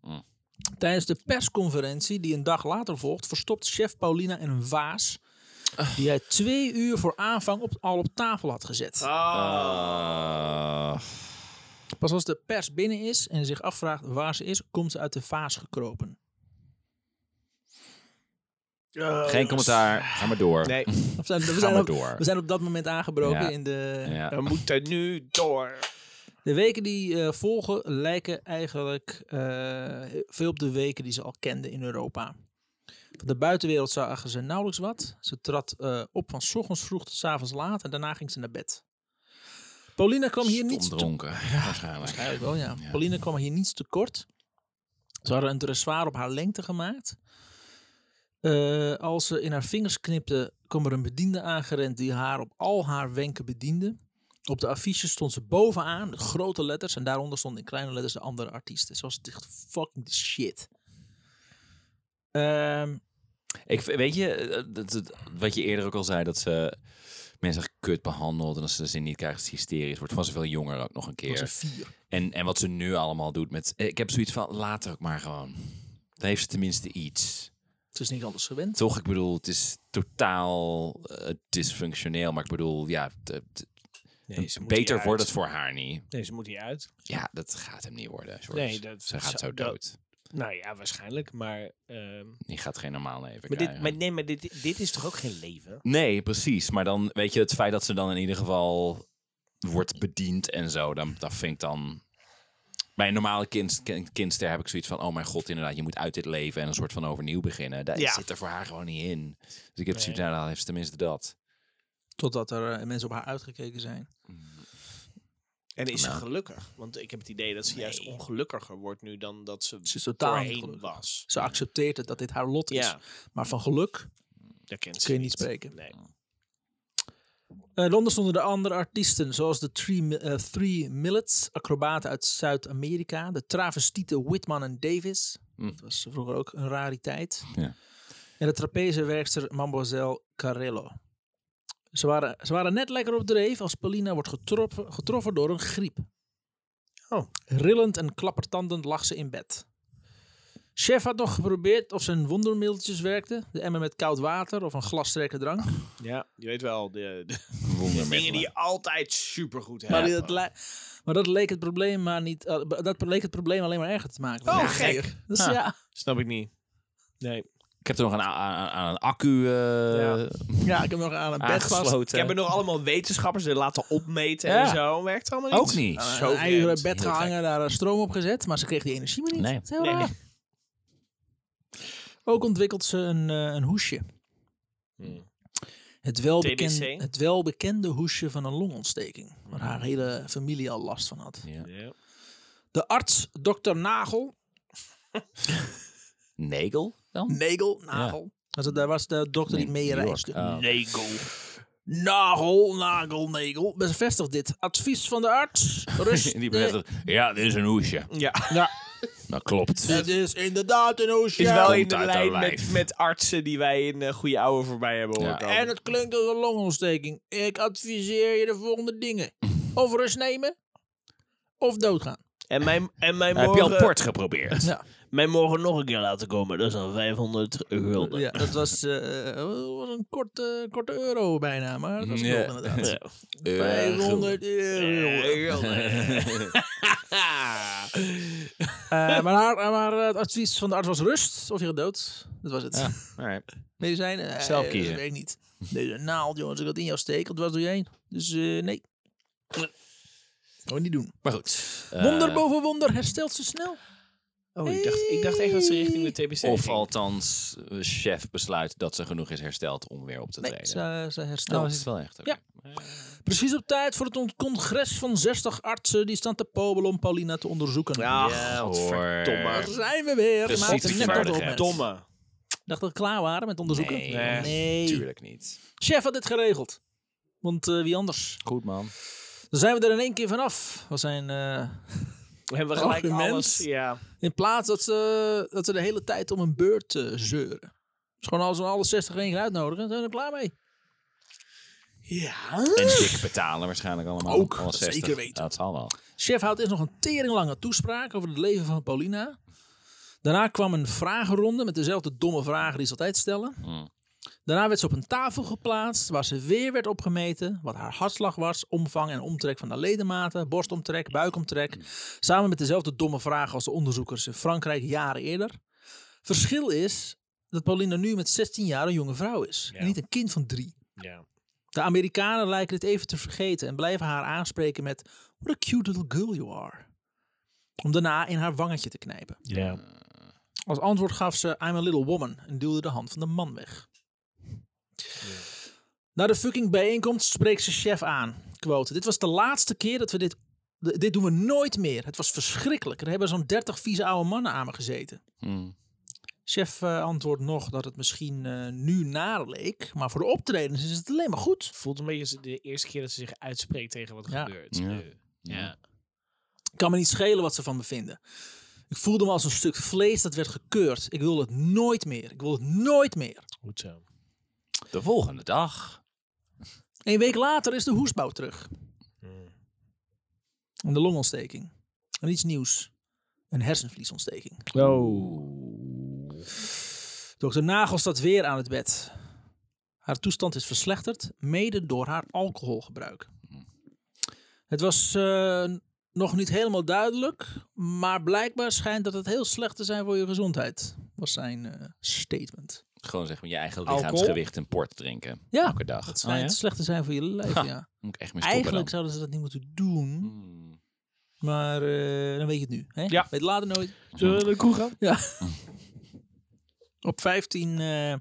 S2: Mm.
S1: Tijdens de persconferentie die een dag later volgt, verstopt chef Paulina in een vaas. Die hij twee uur voor aanvang op, al op tafel had gezet.
S3: Ah.
S2: Ah.
S1: Pas als de pers binnen is en zich afvraagt waar ze is, komt ze uit de vaas gekropen.
S2: Geen commentaar. Ga maar door.
S3: Nee,
S1: We zijn, Eh, we,
S2: Ga
S1: zijn
S2: maar
S1: op,
S2: door.
S1: we zijn op dat moment aangebroken
S2: Ja.
S1: in de,
S2: Ja.
S3: we moeten nu door.
S1: De weken die eh, volgen lijken eigenlijk eh, veel op de weken die ze al kenden in Europa. Van de buitenwereld zagen ze nauwelijks wat. Ze trad eh, op van 's ochtends vroeg tot 's avonds laat en daarna ging ze naar bed. Paulina kwam hier niets te [laughs]
S2: dronken, waarschijnlijk.
S1: Eigenlijk wel, ja.
S2: Ja.
S1: Pauline kwam hier niets tekort. Ze hadden een dressoir op haar lengte gemaakt. Eh, als ze in haar vingers knipte, kwam er een bediende aangerend die haar op al haar wenken bediende. Op de affiche stond ze bovenaan met grote letters en daaronder stonden in kleine letters de andere artiesten. Ze was echt fucking de shit. Ehm,
S2: Ik, v- weet je, eh, dat, dat- wat je eerder ook al zei, dat ze mensen echt kut behandelt. En als ze de zin niet krijgen, is het hysterisch. Wordt van ze veel jonger ook nog een
S1: was
S2: keer.
S1: er vier.
S2: En, en wat ze nu allemaal doet met... eh, Ik heb zoiets van, laat het ook maar gewoon. Dan heeft ze tenminste iets.
S1: Ze is niet anders gewend.
S2: Toch, ik bedoel, het is totaal eh, dysfunctioneel. Maar ik bedoel, ja, de- de-
S3: Nee, ze moet
S2: beter
S3: hieruit.
S2: wordt het voor haar niet.
S3: Nee, ze moet hier uit.
S2: Ja, dat gaat hem niet worden, George.
S3: Nee, dat
S2: Ze gaat zo
S3: dat-
S2: dood.
S3: Nou ja, waarschijnlijk. Maar, ehm,
S2: Die gaat geen normaal leven
S3: maar, dit,
S2: krijgen.
S3: maar, nee, maar dit, dit is toch ook geen leven?
S2: Nee, precies. Maar dan weet je het feit dat ze dan in ieder geval wordt bediend en zo. Dan, dat vind ik dan. Bij een normale kind, kind- kindster heb ik zoiets van: oh mijn god, inderdaad, je moet uit dit leven en een soort van overnieuw beginnen. Daar
S3: Ja.
S2: zit er voor haar gewoon niet in. Dus ik heb
S3: Nee.
S2: zoiets, nou, dan heeft ze tenminste dat.
S1: Totdat er eh, mensen op haar uitgekeken zijn.
S3: En is
S2: Nou.
S3: ze gelukkig? Want ik heb het idee dat ze juist
S2: Nee.
S3: ongelukkiger wordt nu dan dat ze,
S1: Ze is totaal niet
S3: voorheen
S1: gelukkig.
S3: was.
S1: Ze accepteert het dat dit haar lot is.
S3: Ja,
S1: Maar van geluk
S3: daar kent ze
S1: kun je niet
S3: niet.
S1: spreken.
S3: Nee.
S1: Eh Londen stonden de andere artiesten, zoals de Three, Mi- eh, Three Millets, acrobaten uit Zuid-Amerika, de travestieten Whitman en Davis.
S2: Hm.
S1: Dat was vroeger ook een rariteit.
S2: Ja.
S1: En de trapezewerkster Mademoiselle Carello. Ze waren, ze waren net lekker op dreef als Paulina wordt getroffen, getroffen door een griep.
S3: Oh.
S1: Rillend en klappertandend lag ze in bed. Chef had nog geprobeerd of zijn wondermiddeltjes werkten. De emmer met koud water of een glas sterke drank.
S3: Ja, je weet wel, de, de dingen die
S2: Wondermiddelen.
S3: je altijd supergoed hebt.
S1: Maar, dat le- maar dat leek het probleem maar niet. eh, b- dat leek het probleem alleen maar erger te maken.
S3: Oh,
S1: Ja,
S3: gek.
S1: Dus
S2: Ah.
S1: ja.
S3: Snap ik niet. Nee.
S2: Ik heb er nog een, a- aan, aan een accu eh,
S3: Ja.
S1: ja, ik heb nog aan een bed vast.
S2: aangesloten.
S3: Ik heb er nog allemaal wetenschappers die laten opmeten
S2: Ja.
S3: en zo. Werkt allemaal niet.
S2: Ook niet.
S1: eh,
S3: Zo
S1: een ijzeren
S3: vreemd.
S1: bed
S2: Heel
S1: gehangen, daar eh, stroom op gezet, maar ze kreeg die energie maar niet.
S2: Nee.
S1: Dat is heel
S3: Nee.
S1: raar. Ook ontwikkelt ze een, eh, een hoesje.
S3: Hmm.
S1: Het, welbekende,
S3: TBC?
S1: het welbekende hoesje van een longontsteking. Waar haar hele familie al last van had.
S2: Ja.
S3: Ja.
S1: De arts, dokter Nagel,
S2: Negel dan?
S1: Negel, Nagel. Dat is- daar was de dokter die
S2: Nee,
S1: mee
S2: New York.
S1: reisde.
S2: Oh.
S3: Negel.
S1: Nagel, nagel, negel. Bevestigt dit. Advies van de arts. Rust.
S2: [laughs] Die bevestigt, ja, dit is een hoesje.
S3: Ja.
S2: Dat klopt.
S1: Dit is inderdaad een hoesje.
S3: Is wel
S2: Komt
S3: in de
S2: uit haar
S3: lijn met,
S2: lijf.
S3: met artsen die wij in eh, Goede Ouwe voorbij hebben horen
S2: Ja.
S3: komen.
S1: En het klinkt als een longontsteking. Ik adviseer je de volgende dingen. Of rust nemen. Of doodgaan.
S3: En mijn, en mijn
S2: Nou, Heb je al
S3: morgen...
S2: port geprobeerd?
S1: Ja,
S3: Mij morgen nog een keer laten komen. Dat is dan 500 gulden.
S1: ja dat was, eh, eh, was een korte, korte euro bijna. Maar dat was een
S2: Ja.
S1: gulden inderdaad.
S3: Ja.
S1: 500 euro.
S3: [laughs]
S1: Eh, maar, haar, maar eh, het advies van de arts was rust. Of je gaat dood. Dat was [laughs] het. Medicijn? Eh,
S2: Zelf
S1: eh,
S2: kiezen.
S1: Dat weet ik niet. Deze naald, jongens, ik had in jou steek, want was doe je heen? Dus eh, nee. Gewoon niet doen.
S2: Maar goed. eh,
S1: Wonder boven wonder herstelt ze snel.
S3: Oh, ik dacht, ik dacht echt dat ze richting de TBC
S2: Of
S3: ging.
S2: althans, eh, chef besluit dat ze genoeg is hersteld om weer op te
S1: Nee,
S2: treden.
S1: ze,
S3: Oh.
S1: ze
S2: Nou,
S1: herstelt.
S2: is het wel echt. oké.
S1: Ja. Precies op tijd voor het on- congres van 60 artsen die staan te pobelen om Paulina te onderzoeken.
S3: Ja,
S2: Ja,
S3: godverdomme.
S2: hoor.
S1: Daar zijn we weer.
S2: Precies
S1: Maakte net wat
S2: verdedigend.
S1: op.
S3: Domme.
S1: Dacht dat we klaar waren met onderzoeken.
S2: Nee,
S3: Nee.
S2: Tuurlijk niet.
S1: Chef had dit geregeld. Want eh, wie anders?
S2: Goed man.
S1: Dan zijn we er in één keer vanaf. We zijn... eh,
S3: We hebben gelijk
S1: Argument.
S3: alles. Ja.
S1: In plaats dat ze, dat ze de hele tijd om een beurt eh, zeuren. Dus gewoon als we alle 60 in één keer uitnodigen, zijn we er klaar mee.
S3: Ja.
S2: En dik betalen waarschijnlijk allemaal.
S1: Ook,
S2: Alle
S1: dat
S2: 60.
S1: zeker weten.
S2: Dat zal wel.
S1: Chef houdt eerst nog een teringlange toespraak over het leven van Paulina. Daarna kwam een vragenronde met dezelfde domme vragen die ze altijd stellen.
S2: Mm.
S1: Daarna werd ze op een tafel geplaatst waar ze weer werd opgemeten. Wat haar hartslag was, omvang en omtrek van haar ledematen, borstomtrek, buikomtrek. Samen met dezelfde domme vragen als de onderzoekers in Frankrijk jaren eerder. Verschil is dat Paulina nu met 16 jaar een jonge vrouw is.
S3: Ja.
S1: En niet een kind van drie.
S3: ja.
S1: De Amerikanen lijken dit even te vergeten en blijven haar aanspreken met What a cute little girl you are. Om daarna in haar wangetje te knijpen. Als antwoord gaf ze I'm a little woman en duwde de hand van de man weg. Na de fucking bijeenkomst spreekt ze chef aan. Quote, dit was de laatste keer dat we dit... d- Dit doen we nooit meer. Het was verschrikkelijk. Er hebben zo'n dertig vieze oude mannen aan me gezeten.
S2: Mm.
S1: Chef eh, antwoordt nog dat het misschien eh, nu naar leek, maar voor de optredens is het alleen maar goed.
S3: voelt een beetje als de eerste keer dat ze zich uitspreekt tegen wat er
S1: Ja.
S3: gebeurt.
S2: Ja.
S3: Eh,
S2: Mm.
S3: ja.
S1: kan me niet schelen wat ze van me vinden. Ik voelde me als een stuk vlees dat werd gekeurd. Ik wil het nooit meer. Ik wil het nooit meer.
S3: goed zo.
S2: De volgende dag.
S1: Een week later is de hoesbouw terug.
S2: Hmm.
S1: En de longontsteking. En iets nieuws. Een hersenvliesontsteking. Dokter Nagel staat weer aan het bed. Haar toestand is verslechterd, mede door haar alcoholgebruik. Het was eh, nog niet helemaal duidelijk, maar blijkbaar schijnt dat het heel slecht te zijn voor je gezondheid, was zijn eh, statement.
S2: Gewoon zeg maar je eigen
S3: Alcohol?
S2: lichaamsgewicht en port drinken.
S1: Ja,
S2: Elke dag.
S1: Het
S2: Oh ja?
S1: schijnt slecht te zijn voor je lijf,
S2: Ha,
S1: ja.
S2: Moet ik echt mee stoppen
S1: Eigenlijk
S2: dan.
S1: zouden ze dat niet moeten doen,
S2: Hmm.
S1: maar eh, dan weet je het nu. Hè?
S3: Ja.
S1: Weet later nooit.
S3: Zullen we naar de kroeg gaan?
S1: Op 15. eh,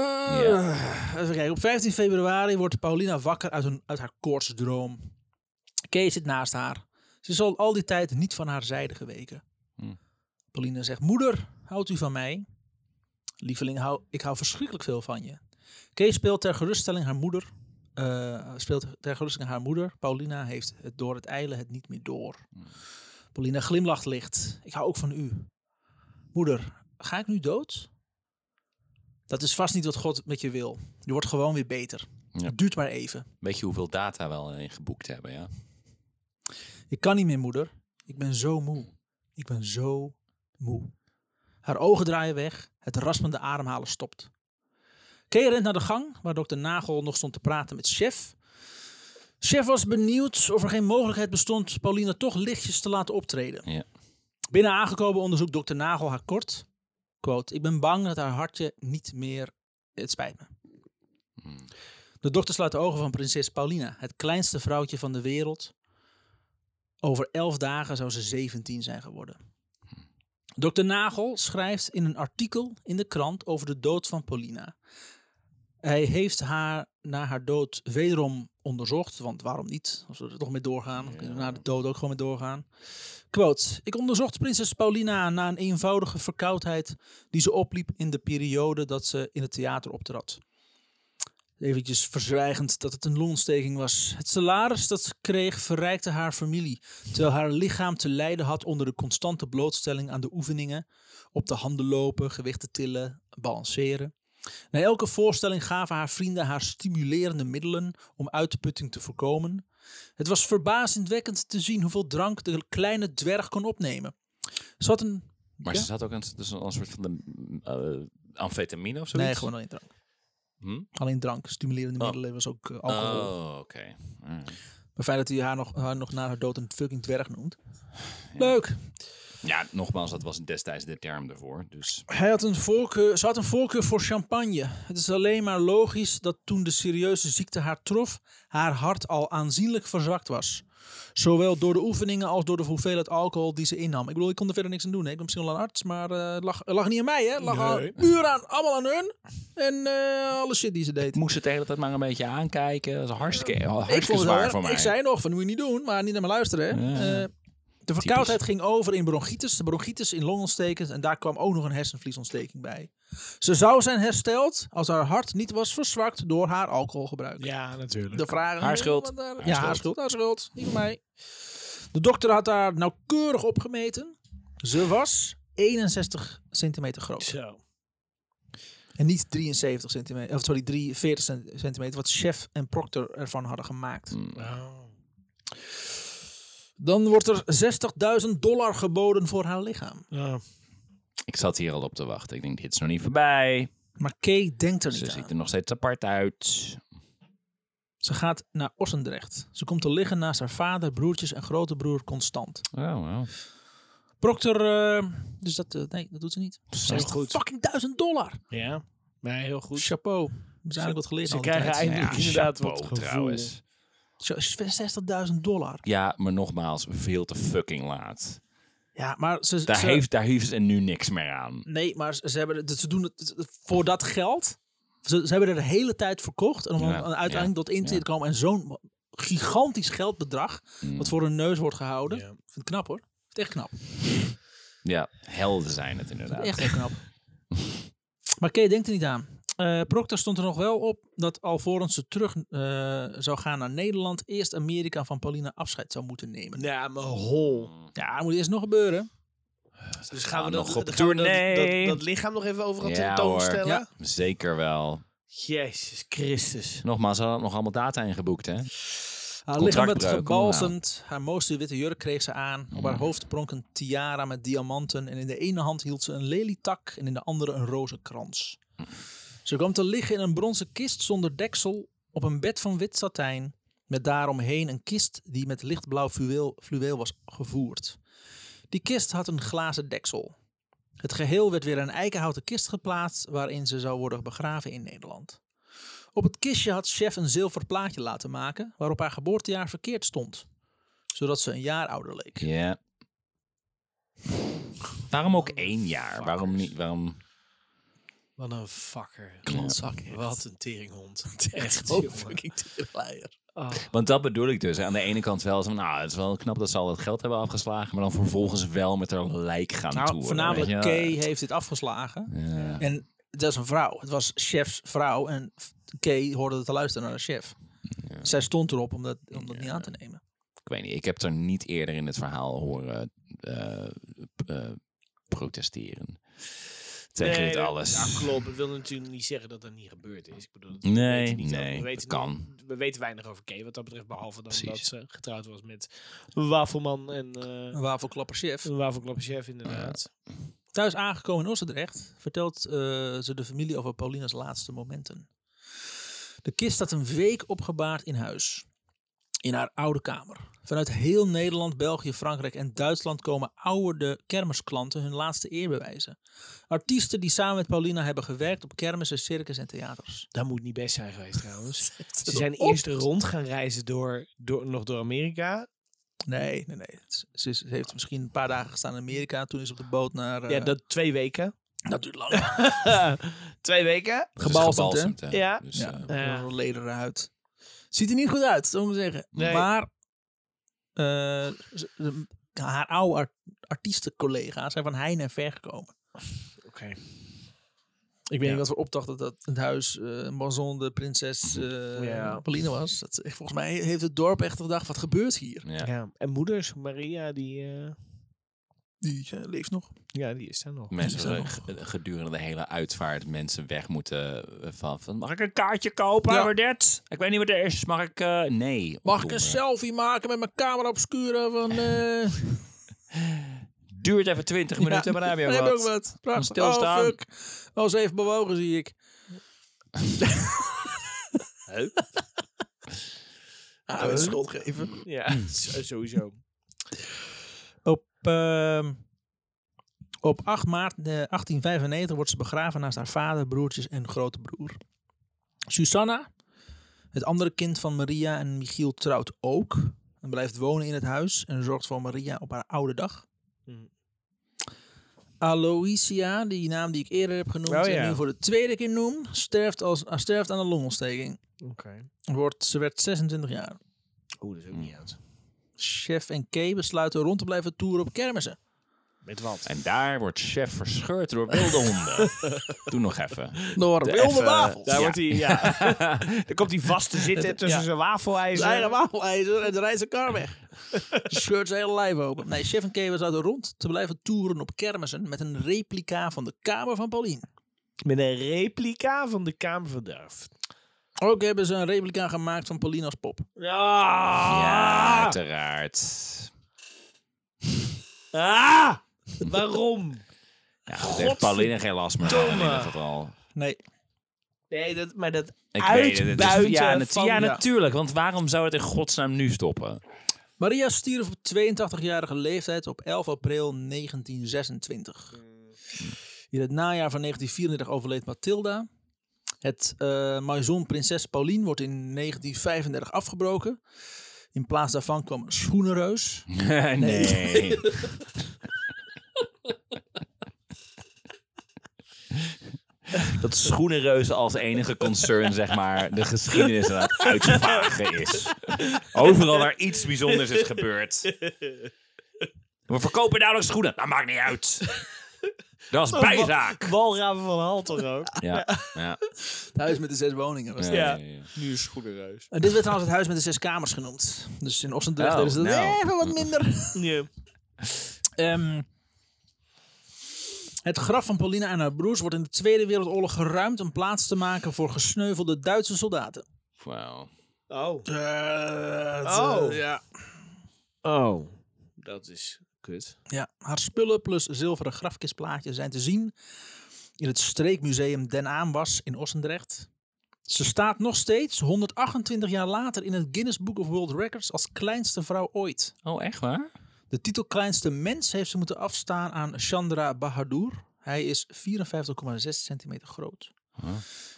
S1: Even kijken. Op 15 februari wordt Paulina wakker uit, een, uit haar koortsdroom. Kees zit naast haar. Ze is al, al die tijd niet van haar zijde geweken.
S2: Hm.
S1: Paulina zegt: Moeder, houdt u van mij? Lieveling, hou, ik hou verschrikkelijk veel van je. Kees speelt ter geruststelling haar moeder. eh, speelt ter geruststelling haar moeder. Paulina heeft het door het eilen het niet meer door. Paulina glimlacht licht. Ik hou ook van u. Moeder, ga ik nu dood? Dat is vast niet wat God met je wil. Je wordt gewoon weer beter.
S2: Ja.
S1: Het duurt maar even.
S2: Weet je hoeveel data we al in geboekt hebben, ja?
S1: Ik kan niet meer, moeder. Ik ben zo moe. Ik ben zo moe. Haar ogen draaien weg. Het raspende ademhalen stopt. Kay rent naar de gang, waar dokter Nagel nog stond te praten met chef. Chef was benieuwd of er geen mogelijkheid bestond Paulina toch lichtjes te laten optreden.
S2: Ja.
S1: Binnen aangekomen onderzoekt dokter Nagel haar kort. Quote, ik ben bang dat haar hartje niet meer... Het spijt me.
S2: Hmm.
S1: De dokter sluit de ogen van prinses Paulina, het kleinste vrouwtje van de wereld. Over elf dagen zou ze 17 zijn geworden. Dokter Nagel schrijft in een artikel in de krant over de dood van Paulina. Hij heeft haar na haar dood wederom onderzocht, want waarom niet? Als we er toch mee doorgaan, dan kunnen we na de dood ook gewoon mee doorgaan. Quote, ik onderzocht prinses Paulina na een eenvoudige verkoudheid die ze opliep in de periode dat ze in het theater optrad. Eventjes verzwijgend dat het een longontsteking was. Het salaris dat ze kreeg verrijkte haar familie, terwijl haar lichaam te lijden had onder de constante blootstelling aan de oefeningen, op de handen lopen, gewichten tillen, balanceren. Na elke voorstelling gaven haar vrienden haar stimulerende middelen om uitputting te voorkomen. Het was verbazingwekkend te zien hoeveel drank de kleine dwerg kon opnemen. Ze had een...
S2: Maar
S1: Ja?
S2: ze zat ook een, dus een soort van de, eh, amfetamine of zoiets?
S1: Nee, gewoon alleen drank.
S2: Hm?
S1: Alleen drank. Stimulerende
S2: Oh.
S1: middelen was ook eh, alcohol.
S2: Oh, oké. Mm.
S1: Maar fijn dat hij haar nog, haar nog na haar dood een fucking dwerg noemt. Leuk.
S2: Ja, nogmaals, dat was destijds de term daarvoor. Dus
S1: Hij had een voorkeur, ze had een voorkeur voor champagne. Het is alleen maar logisch dat toen de serieuze ziekte haar trof, haar hart al aanzienlijk verzwakt was. Zowel door de oefeningen als door de hoeveelheid alcohol die ze innam. Ik bedoel, ik kon er verder niks aan doen. Hè? Ik ben misschien wel een arts, maar eh, het lag, het lag niet aan mij. Hè? Het lag aan-
S2: Nee.
S1: puur aan, allemaal aan hun. En eh, alle shit die ze deed.
S2: moest het de hele tijd maar een beetje aankijken. Dat is hartstikke,
S1: Ik vond
S2: hartstikke
S1: het wel
S2: zwaar
S1: erg.
S2: voor mij.
S1: Ik zei nog, van moet je niet doen, maar niet naar me luisteren. hè.
S2: Ja, ja.
S1: Eh, de verkoudheid ging over in bronchitis. De bronchitis in longontstekens. En daar kwam ook nog een hersenvliesontsteking bij. Ze zou zijn hersteld als haar hart niet was verzwakt door haar alcoholgebruik.
S3: Ja, natuurlijk.
S1: De vragen.
S2: Haar schuld.
S1: Ja,
S2: Haar
S1: haar
S2: schuld.
S1: schuld. Haar schuld. Niet van mij. De dokter had haar nauwkeurig opgemeten. Ze was 61 centimeter groot.
S3: Zo.
S1: En niet 73 centimeter. Of sorry, 43 cent- centimeter. Wat chef en proctor ervan hadden gemaakt.
S3: Hmm.
S1: Dan wordt er 60.000 dollar geboden voor haar lichaam.
S3: Ja.
S2: Ik zat hier al op te wachten. Ik denk, dit is nog niet voorbij.
S1: Maar Kay denkt er
S2: Ze
S1: niet aan.
S2: ziet er nog steeds apart uit.
S1: Ze gaat naar Ossendrecht. Ze komt te liggen naast haar vader, broertjes en grote broer Constant.
S2: Oh, wow.
S1: Proctor, eh, dus dat, eh, nee, dat doet ze niet.
S3: heel
S1: 60
S3: goed.
S1: Fucking 1000 dollar.
S3: ja. Maar heel goed.
S1: Chapeau. We zijn eigenlijk wat geleerd.
S3: Ze
S1: al die tijd.
S3: krijgen
S2: Nou
S3: eindelijk inderdaad
S2: chapeau
S3: wat gevoel.
S2: trouwens.
S1: Cha- 60.000 dollar.
S2: Ja, maar nogmaals, veel te fucking laat.
S1: Ja, maar ze...
S2: Daar,
S1: ze-
S2: heeft, daar heeft ze nu niks meer aan.
S1: Nee, maar ze, ze hebben, het- ze doen het voor dat geld. Ze, ze hebben er de hele tijd verkocht. En om
S2: Ja,
S1: dan uiteindelijk tot in
S2: ja.
S1: te komen. En zo'n gigantisch geldbedrag.
S2: Mm.
S1: Wat voor hun neus wordt gehouden.
S3: Ja.
S1: Ik vind het knap hoor. Ik vind het echt knap.
S2: Ja, helden zijn het inderdaad.
S1: Echt heel knap. [laughs] maar Kay denkt er niet aan. Eh Proctor stond er nog wel op dat alvorens ze terug eh, zou gaan naar Nederland, eerst Amerika van Paulina afscheid zou moeten nemen.
S3: Ja, maar hol.
S1: Ja, dat moet eerst nog gebeuren.
S3: Dus gaan we dat,
S2: nog op
S3: dan gaan we dat-
S2: tournee.
S3: Dat, dat lichaam nog even overal
S2: Ja,
S3: tentoonstellen?
S1: hoor. Ja.
S2: Zeker wel.
S3: Jezus Christus.
S2: Nogmaals, ze hadden nog allemaal data ingeboekt, hè?
S1: Haar lichaam werd
S2: Contractbreuk, kom nou.
S1: gebalsemd, haar mooiste witte jurk kreeg ze aan. Op haar hoofd pronk een tiara met diamanten en in de ene hand hield ze een lelietak en in de andere een rozenkrans. Ze kwam te liggen in een bronzen kist zonder deksel op een bed van wit satijn met daaromheen een kist die met lichtblauw fluweel, fluweel was gevoerd. Die kist had een glazen deksel. Het geheel werd weer in een eikenhouten kist geplaatst waarin ze zou worden begraven in Nederland. Op het kistje had chef een zilver plaatje laten maken waarop haar geboortejaar verkeerd stond, zodat ze een jaar ouder leek.
S2: Ja. Waarom ook één jaar? Waarom niet? Waarom?
S3: Wat een fucker.
S1: Klootzak, echt.
S3: Wat een
S2: [laughs]
S3: teringhond. Echt,
S1: Oh,
S3: jongen.
S1: fucking tegenleier.
S3: Ah.
S2: Want dat bedoel ik dus. Aan de ene kant wel, zo van, nou, het is wel knap dat ze al dat geld hebben afgeslagen, maar dan vervolgens wel met haar lijk gaan
S1: Nou,
S2: toeren,
S1: voornamelijk
S2: weet je wel.
S1: Kay heeft dit afgeslagen.
S2: Ja.
S1: En dat is een vrouw. Het was chefs vrouw en Kay hoorde het te luisteren naar de chef. Zij stond erop om dat, om dat niet aan te nemen.
S2: Ik weet niet. Ik heb het er niet eerder in het verhaal horen eh, eh, protesteren tegen
S3: Nee,
S2: dit
S3: dat-
S2: alles.
S3: Ja, klopt. Ik wil natuurlijk niet zeggen dat dat niet gebeurd is. Ik bedoel, dat
S2: Nee,
S3: weten niet.
S2: nee,
S3: we weten
S2: dat
S3: niet-
S2: kan.
S3: we weten weinig over Kay wat dat betreft. Behalve dan
S2: Precies.
S3: dat ze getrouwd was met een wafelman en eh
S1: Een wafelklapper chef.
S3: een wafelklappenchef inderdaad.
S1: Thuis aangekomen in Ossendrecht vertelt eh, ze de familie over Paulina's laatste momenten. De kist staat een week opgebaard in huis. In haar oude kamer. Vanuit heel Nederland, België, Frankrijk en Duitsland komen oude kermisklanten hun laatste eer bewijzen. Artiesten die samen met Paulina hebben gewerkt op kermissen, circus en theaters.
S3: Dat moet niet best zijn geweest
S2: [laughs]
S3: trouwens. Ze zijn eerst rond gaan reizen door, door, nog door Amerika.
S1: Nee, nee, nee. Ze- Ze, ze heeft misschien een paar dagen gestaan in Amerika. Toen is ze op de boot naar... eh,
S3: Ja, dat twee
S2: [laughs]
S3: weken.
S1: dat duurt lang.
S3: twee weken.
S2: Ze is
S1: gebalsemd,
S2: hè?
S3: Ja.
S2: Dus,
S1: Ja,
S2: eh,
S1: op een lederen huid. Ziet er niet goed uit, zou ik maar zeggen.
S3: Nee.
S1: Maar eh, ze- ze- haar oude ar- artiestencollega's zijn van heijn en ver gekomen.
S3: Oké.
S1: Ik weet niet wat we opdachten dat het huis eh Mazon de prinses eh
S3: Ja.
S1: Pauline was. Dat, is echt- volgens mij heeft het dorp echt gedacht, wat gebeurt hier?
S2: ja.
S3: Ja. En moeders, Maria, die, eh,
S1: Die eh, leeft nog.
S3: ja, die is daar nog.
S2: Mensen
S1: Die zijn
S2: zullen
S1: nog-
S2: g- gedurende de hele uitvaart mensen weg moeten eh, van, van mag ik een kaartje kopen?
S1: Ja.
S2: Voor dit? Ik weet niet wat er is. Mag ik? eh, nee.
S1: Mag ik
S2: Domme.
S1: een selfie maken met mijn camera obscura van... eh
S2: Duurt even 20
S1: [laughs]
S2: minuten, maar dan heb je
S1: dan
S2: ook
S1: ook
S2: wat.
S1: wat. Prachtig.
S2: Stilstaan.
S1: Oh, fuck. Oh, ze heeft bewogen, zie ik. [laughs] Ah, dat is schuld geven.
S3: [laughs] Ja, zo- sowieso.
S1: Op, ehm, op 8 maart eh, 1895 wordt ze begraven naast haar vader, broertjes en grote broer. Susanna, het andere kind van Maria en Michiel, trouwt ook. En blijft wonen in het huis en zorgt voor Maria op haar oude dag.
S3: Hmm.
S1: Aloysia, die naam die ik eerder heb genoemd
S3: Oh
S1: en
S3: ja.
S1: nu voor de tweede keer noem, sterft, als, ah, sterft aan een longontsteking.
S3: Oké.
S1: Wordt, ze werd 26 jaar.
S3: Oeh, dat is ook niet uit.
S1: Chef en Kay besluiten rond te blijven toeren op kermissen.
S3: Met wat?
S2: En daar wordt chef verscheurd door wilde honden. Doe nog even.
S1: Door wilde
S2: Even-
S1: wafels.
S3: eh, Daar
S2: Ja.
S3: [laughs] wordt hij, ja. Dan komt hij vast [laughs] te zitten tussen
S1: Ja.
S3: zijn
S1: Zijn eigen
S3: wafelijzer.
S1: wafelijzer en rijdt zijn kar weg. Shirt zijn hele lijf open. Nee, Chef en Kevin zouden rond te blijven toeren op kermissen met een replica van de kamer van Pauline.
S3: Met een replica van de Kamer van Durf.
S1: Ook hebben ze een replica gemaakt van Pauline als pop.
S3: Ah!
S2: Ja,
S3: Ja.
S2: uiteraard.
S3: Ah! [laughs] Waarom?
S2: Ja, goed, heeft Pauline geen last meer van in
S3: Godverdomme.
S2: ieder geval.
S1: Nee
S3: Nee, dat, maar dat
S2: Ik
S3: uitbuiten
S2: weet het, het. is- Ja, nat-
S3: van...
S2: ja,
S1: ja.
S2: natuurlijk. Want waarom zou het in godsnaam nu stoppen?
S1: Maria stierf op 82-jarige leeftijd op 11 april 1926. In het najaar van 1934 overleed Mathilda. Het eh maison Prinses Pauline wordt in 1935 afgebroken. In plaats daarvan kwam een schoenenreus.
S2: nee. Dat schoenenreuzen als enige concern, zeg maar, de geschiedenis aan het uitvagen is. Overal waar iets bijzonders is gebeurd, We verkopen nauwelijks schoenen. Dat maakt niet uit. Dat is bijzaak.
S3: Walraven van Halter [laughs] ook.
S2: Ja, ja.
S1: Het huis met de zes woningen. Was het.
S3: Ja.
S2: ja.
S3: Nu is schoenenreus.
S1: En Eh, dit werd trouwens het huis met de zes kamers genoemd. Dus in Ossendrecht
S2: Oh,
S1: deden ze dat
S2: nou.
S1: even wat
S2: [laughs]
S1: minder.
S3: Ja.
S1: Ehm, het graf van Paulina en haar broers wordt in de Tweede Wereldoorlog geruimd om plaats te maken voor gesneuvelde Duitse soldaten.
S2: Wauw.
S3: Oh.
S1: oh.
S3: eh,
S1: ja.
S3: Oh. Dat is kut.
S1: ja. Haar spullen plus zilveren grafkistplaatjes zijn te zien in het streekmuseum Den Aanwas in Ossendrecht. Ze staat nog steeds, 128 jaar later, in het Guinness Book of World Records als kleinste vrouw ooit.
S2: Oh, echt waar?
S1: De titel kleinste mens heeft ze moeten afstaan aan Chandra Bahadur. Hij is 54,6 centimeter groot.
S2: Huh.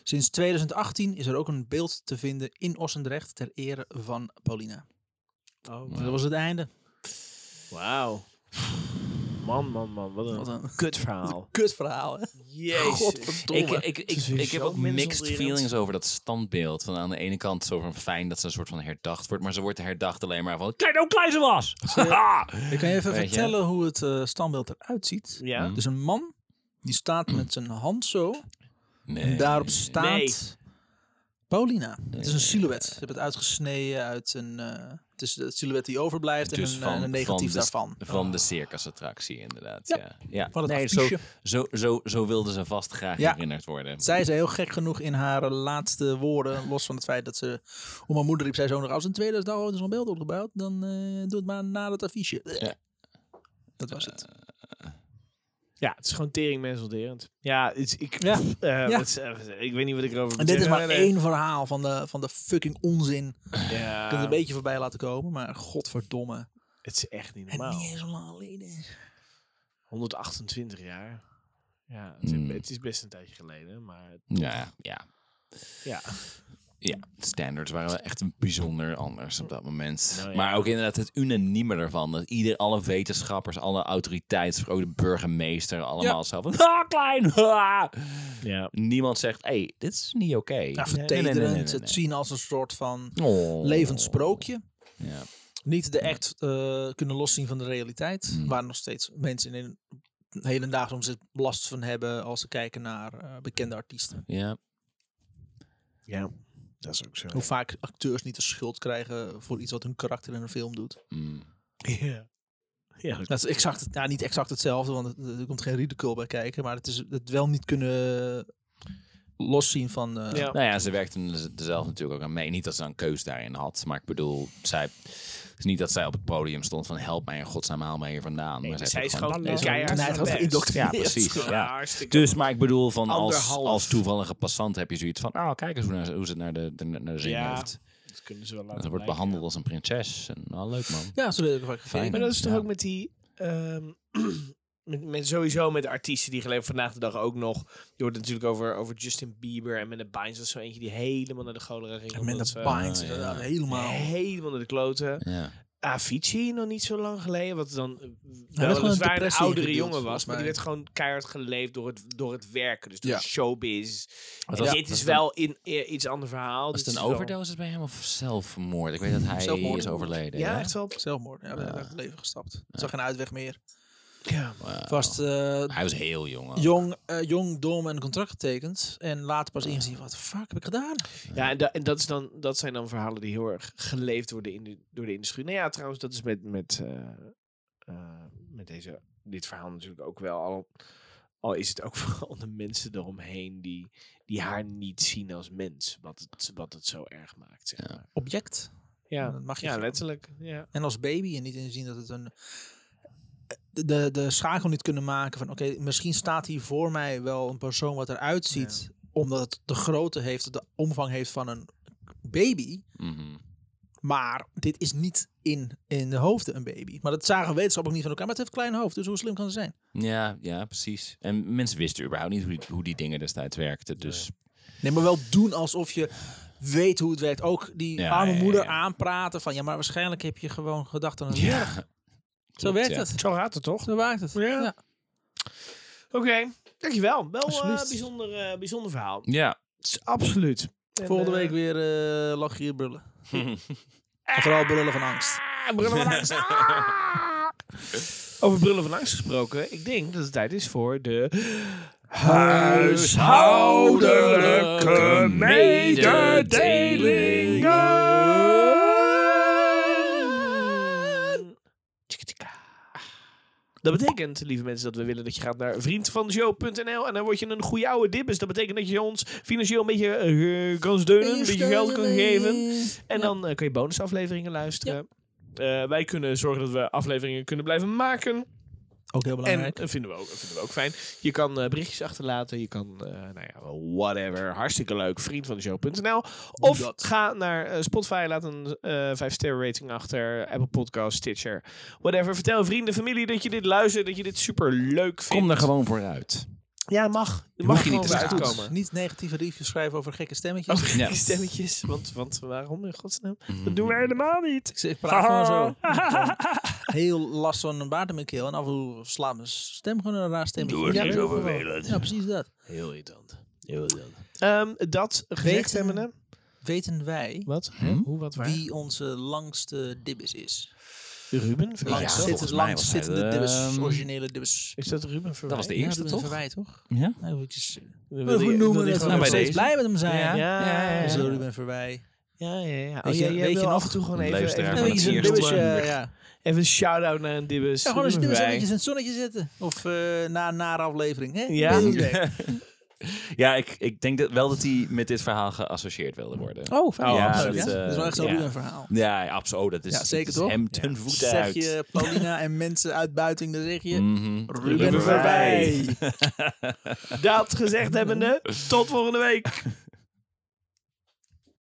S1: Sinds 2018 is er ook een beeld te vinden in Ossendrecht ter ere van Paulina. Dus
S3: Oh.
S1: Dat was het einde.
S3: Wauw. Man, man, man. Wat een,
S1: Wat een
S3: kut verhaal.
S1: Kut verhaal, hè?
S3: Jezus.
S2: Ik,
S1: Godverdomme.
S2: ik, ik,
S3: is
S2: ik,
S3: weer
S2: ik heb
S3: zo
S2: ook mixed
S3: mensonterend.
S2: feelings over dat standbeeld. Van aan de ene kant is het zo fijn dat ze een soort van herdacht wordt. Maar ze wordt herdacht alleen maar van... Kijk nou hoe klein ze was! Haha!
S1: Ik kan je even
S2: Weet je?
S1: vertellen hoe het eh, standbeeld eruit ziet.
S3: Ja.
S1: Dus een man die staat met zijn hand zo.
S2: nee.
S1: En daarop
S3: Nee.
S1: staat Paulina. Het is een silhouet. Eh, Ze hebben het uitgesneden uit een. eh, het is de silhouet die overblijft en
S2: Dus
S1: een, eh, een negatief
S2: de,
S1: daarvan. Ah.
S2: Van de circusattractie inderdaad.
S1: Ja.
S2: Ja. ja.
S1: Van het
S2: nee, zo,
S1: affiche.
S2: zo, zo, zo wilden ze vast graag
S1: Ja.
S2: herinnerd worden.
S1: Zij zei heel gek genoeg in haar laatste woorden, los van het feit dat ze om haar moeder riep, zij zo nog, als een tweede dag ooit zo'n beeld opgebouwd, dan eh, doe het maar na dat affiche.
S2: Ja.
S1: Dat was het.
S3: Ja, het is gewoon tering menselderend. Ja, het is- ik,
S1: Ja.
S3: eh,
S1: Ja.
S3: wat is- eh, ik weet niet wat ik erover
S1: en
S3: moet
S1: dit is
S3: zeggen.
S1: maar
S3: Nee, nee.
S1: één verhaal van de, van de fucking onzin. Ik
S3: Ja,
S1: kan het een beetje voorbij laten komen, maar godverdomme.
S3: het is echt niet
S1: En
S3: normaal.
S1: niet eens zo lang geleden.
S3: 128 jaar. Ja, het is,
S2: Mm.
S3: het is best een tijdje geleden, maar het-
S2: Ja, ja.
S3: ja.
S2: Ja, de standards waren wel echt een bijzonder anders op dat moment.
S1: Oh,
S3: Nou ja.
S2: Maar ook inderdaad het unanieme ervan. Dat ieder, alle wetenschappers, alle autoriteits, ook de burgemeester, allemaal zo van... Ah, klein! ah."
S3: ja.
S2: Niemand zegt, hé, hey, dit is niet oké.
S1: Ja,
S2: Nee, nee, nee,
S1: vertederend,
S2: nee, nee,
S1: het
S2: nee.
S1: zien als een soort van
S2: Oh.
S1: levend sprookje.
S2: Ja.
S1: Niet de echt eh, kunnen loszien van de realiteit.
S2: Hmm.
S1: Waar nog steeds mensen in hedendaags om zich last van hebben als ze kijken naar eh, bekende artiesten.
S2: ja.
S3: Ja, dat is ook zo.
S1: Hoe vaak acteurs niet de schuld krijgen voor iets wat hun karakter in een film doet.
S2: Mm.
S3: [laughs] Ja. Ja,
S1: Dat is exact, het- nou, niet exact hetzelfde, want het- er komt geen ridicule bij kijken. Maar het is het wel niet kunnen loszien van... eh,
S3: ja.
S2: Nou ja, ze werkte er zelf natuurlijk ook aan mee. Niet dat ze een keus daarin had, maar ik bedoel, zij, het is niet dat zij op het podium stond van help mij in godsnaam, haal mij hier vandaan. maar
S3: maar
S2: zij
S3: zij
S2: heeft
S3: is
S2: ook
S3: gewoon
S2: Nee,
S3: keihard
S1: Nee, het was
S3: best.
S2: Ja,
S1: geïndoctrineerd.
S2: precies.
S3: Gewoon
S2: Ja.
S3: hartstikke-
S2: Dus, maar ik bedoel, van als,
S3: Anderhalf.
S2: als toevallige passant heb je zoiets van, nou, kijk eens hoe, naar, hoe ze het naar de, de- naar de zin
S3: Ja,
S2: heeft.
S3: dat kunnen ze wel
S2: En
S3: laten
S2: ze wordt
S3: blijken.
S2: behandeld als een prinses. En, nou, leuk man.
S1: Ja, zo weet ik ook
S2: Fijn.
S1: vaak.
S3: Maar dat is toch
S2: Ja.
S3: ook met die. ehm, [clears throat] met, met sowieso met de artiesten die geleefd vandaag de dag ook nog. Je hoort natuurlijk over, over Justin Bieber en Amanda Bynes. Dat is zo eentje die helemaal naar de cholera ging.
S1: Met
S3: omdat
S1: de
S3: ze
S1: binds,
S2: ja.
S1: inderdaad, helemaal...
S3: Helemaal naar de kloten.
S2: Ja.
S3: Avicii nog niet zo lang geleden. Wat dan eh,
S1: gewoon een
S3: wel weliswaar een
S1: depressie
S3: oudere
S1: ingeduwd,
S3: jongen
S1: volgens
S3: was. Maar die
S1: mij.
S3: werd gewoon keihard geleefd door het, door het werken. Dus door
S1: Ja.
S3: de showbiz.
S2: Wat
S3: En
S2: was-
S3: dit
S2: was
S3: is
S2: het een-
S3: wel in, eh, iets ander verhaal.
S2: Was
S3: Dit
S2: het een
S3: is wel-
S2: overdosis bij hem of zelfmoord? Ik weet dat hij
S1: Zelfmoord.
S2: is overleden.
S3: Ja, echt wel.
S1: Zelfmoord. Ja, we hebben uit het leven gestapt. Het zag geen uitweg meer.
S3: Ja.
S2: Wauw.
S1: Vast eh,
S2: Hij was heel jong. al.
S1: jong, eh, jong, dom en een contract getekend. En later pas ingezien, wat de fuck heb ik gedaan?
S3: Ja, en, da- en dat, is dan, dat zijn dan verhalen die heel erg geleefd worden in de, door de industrie. Nou ja, trouwens, dat is met, met, eh, eh, met deze, dit verhaal natuurlijk ook wel. Al, al is het ook [laughs] vooral de mensen eromheen die, die haar niet zien als mens. Wat het, wat het zo erg maakt, zeg maar.
S1: Object.
S3: Ja,
S1: Dat mag je
S3: ja
S1: zo-
S3: letterlijk. Ja.
S1: En als baby en niet inzien dat het een... eh, De, de, de schakel niet kunnen maken van... Oké, misschien staat hier voor mij wel een persoon wat eruit ziet. Omdat het de grootte heeft, de omvang heeft van een baby.
S2: Mhm.
S1: Maar dit is niet in, in de hoofden een baby. Maar dat zagen wetenschappers ook niet van elkaar. Maar het heeft een klein hoofd, dus hoe slim kan ze zijn?
S2: Ja, ja, precies. En mensen wisten überhaupt niet hoe die, hoe die dingen destijds werkten. Dus
S1: Nee, maar wel doen alsof je weet hoe het werkt. Ook die
S2: Ja,
S1: arme
S2: ja, ja,
S1: moeder
S2: ja.
S1: aanpraten van... Ja, maar waarschijnlijk heb je gewoon gedacht aan een
S2: [laughs] Ja,
S1: ja, Zo
S2: klopt,
S1: werkt
S2: ja.
S1: het.
S3: Zo gaat het toch?
S1: Zo werkt het.
S3: Ja. Oké, dankjewel. Wel eh,
S1: Alsjeblieft.
S3: bijzonder, eh, bijzonder verhaal.
S2: ja.
S3: Absoluut.
S1: Volgende week weer eh lach hier brullen.
S2: [laughs]
S1: en vooral brullen van angst.
S3: Ah, brullen we langs. Ah! Oké, Over brullen van angst gesproken. Ik denk dat het tijd is voor de...
S2: Huishoudelijke
S3: mededelingen. Dat betekent, lieve mensen, dat we willen dat je gaat naar vriendvanshow.nl en dan word je een goede oude dibbes. Dat betekent dat je ons financieel een beetje eh, kan steunen, een beetje geld kan geven. En dan eh, kun je bonusafleveringen luisteren. Eh, wij kunnen zorgen dat we afleveringen kunnen blijven maken.
S1: Ook heel
S3: En
S1: belangrijk.
S3: dat vinden, we ook, dat vinden we ook fijn. Je kan eh, berichtjes achterlaten. Je kan, eh, nou ja, whatever. Hartstikke leuk. Vriend van de show.nl. Of ga naar eh, Spotify. Laat een eh 5-sterren rating achter. Apple Podcast, Stitcher. Whatever. Vertel vrienden, familie dat je dit luistert. Dat je dit super leuk vindt.
S2: Kom er gewoon vooruit.
S3: Ja, mag. Je
S2: mag
S3: mag
S2: je
S3: gewoon
S2: niet
S3: weer
S2: te laat.
S3: uitkomen.
S1: Niet negatieve reviews schrijven over gekke stemmetjes.
S3: Over
S2: Ja. Mm.
S3: die [laughs] stemmetjes. Want, want waarom in godsnaam? Dat doen we helemaal niet.
S1: Ik, zeg, ik praat gewoon zo.
S2: [laughs]
S1: Ik heb gewoon Heel last van een baard in mijn keel. En af en toe slaat mijn stem gewoon een raar stemmetje.
S4: Doe het
S1: Ja,
S4: niet
S1: dat
S4: zo
S1: is wel.
S4: vervelend.
S1: Ja, precies dat.
S3: Heel irritant. Heel irritant. Ehm, dat gezegd
S1: Weten-
S3: hebben
S1: Weten wij
S3: Wat?
S2: Hm?
S3: Hoe, wat, waar?
S1: wie onze langste dibbes is?
S3: Ruben? Verwijt.
S2: Ja,
S1: Langst zitten-
S2: volgens mij
S1: langst
S2: was hij
S1: zittende
S2: de-
S1: dibbes, originele dibbes.
S3: Is dat Ruben Verwij?
S2: Dat was de eerste,
S1: ja,
S2: toch?
S1: Wij, toch?
S2: Ja?
S1: Nou, ik is, we
S3: We
S1: noemen het. nou
S2: gewoon
S1: we
S2: bij
S1: steeds
S2: deze.
S1: blij met hem zijn.
S2: Ja.
S3: Ja,
S1: Zo,
S3: ja,
S1: Ruben Verwij.
S3: ja. ja. Oh,
S1: Weet
S3: ja,
S1: je-
S3: jij
S1: weet je
S3: wil
S1: nog?
S3: af en toe gewoon
S2: Een
S3: even,
S2: luisteraar
S3: even,
S2: van
S1: En
S2: het
S1: weet je, zo'n
S2: eerste.
S3: even,
S1: dibbes,
S2: Ruben.
S1: eh, ja.
S3: even een shout-out naar een dibbes.
S1: Ja, gewoon eens
S3: Ruben
S1: dibbes
S3: Verwij.
S1: eventjes in het zonnetje zitten. Of eh, na een nare aflevering, hè?
S3: Ja.
S1: Doe
S2: [laughs]
S1: het weg.
S2: Ja, ik, ik denk dat wel dat hij met dit verhaal geassocieerd wilde worden.
S1: Oh, fijn.
S3: Oh,
S1: ja,
S3: absoluut.
S1: leuk, hè?
S2: Dat, eh,
S1: dat is wel echt zo'n
S2: ja.
S1: Ruben verhaal.
S2: Ja, absoluut. Dat is,
S1: Ja, zeker
S2: dat is
S1: toch?
S2: hem ten voeten
S1: zeg
S2: uit.
S1: je Paulina en mensen uitbuiting, dan zeg je
S2: Mhm.
S1: Ruben
S3: Ruben
S1: Verwij.
S3: Dat gezegd hebbende, tot volgende week.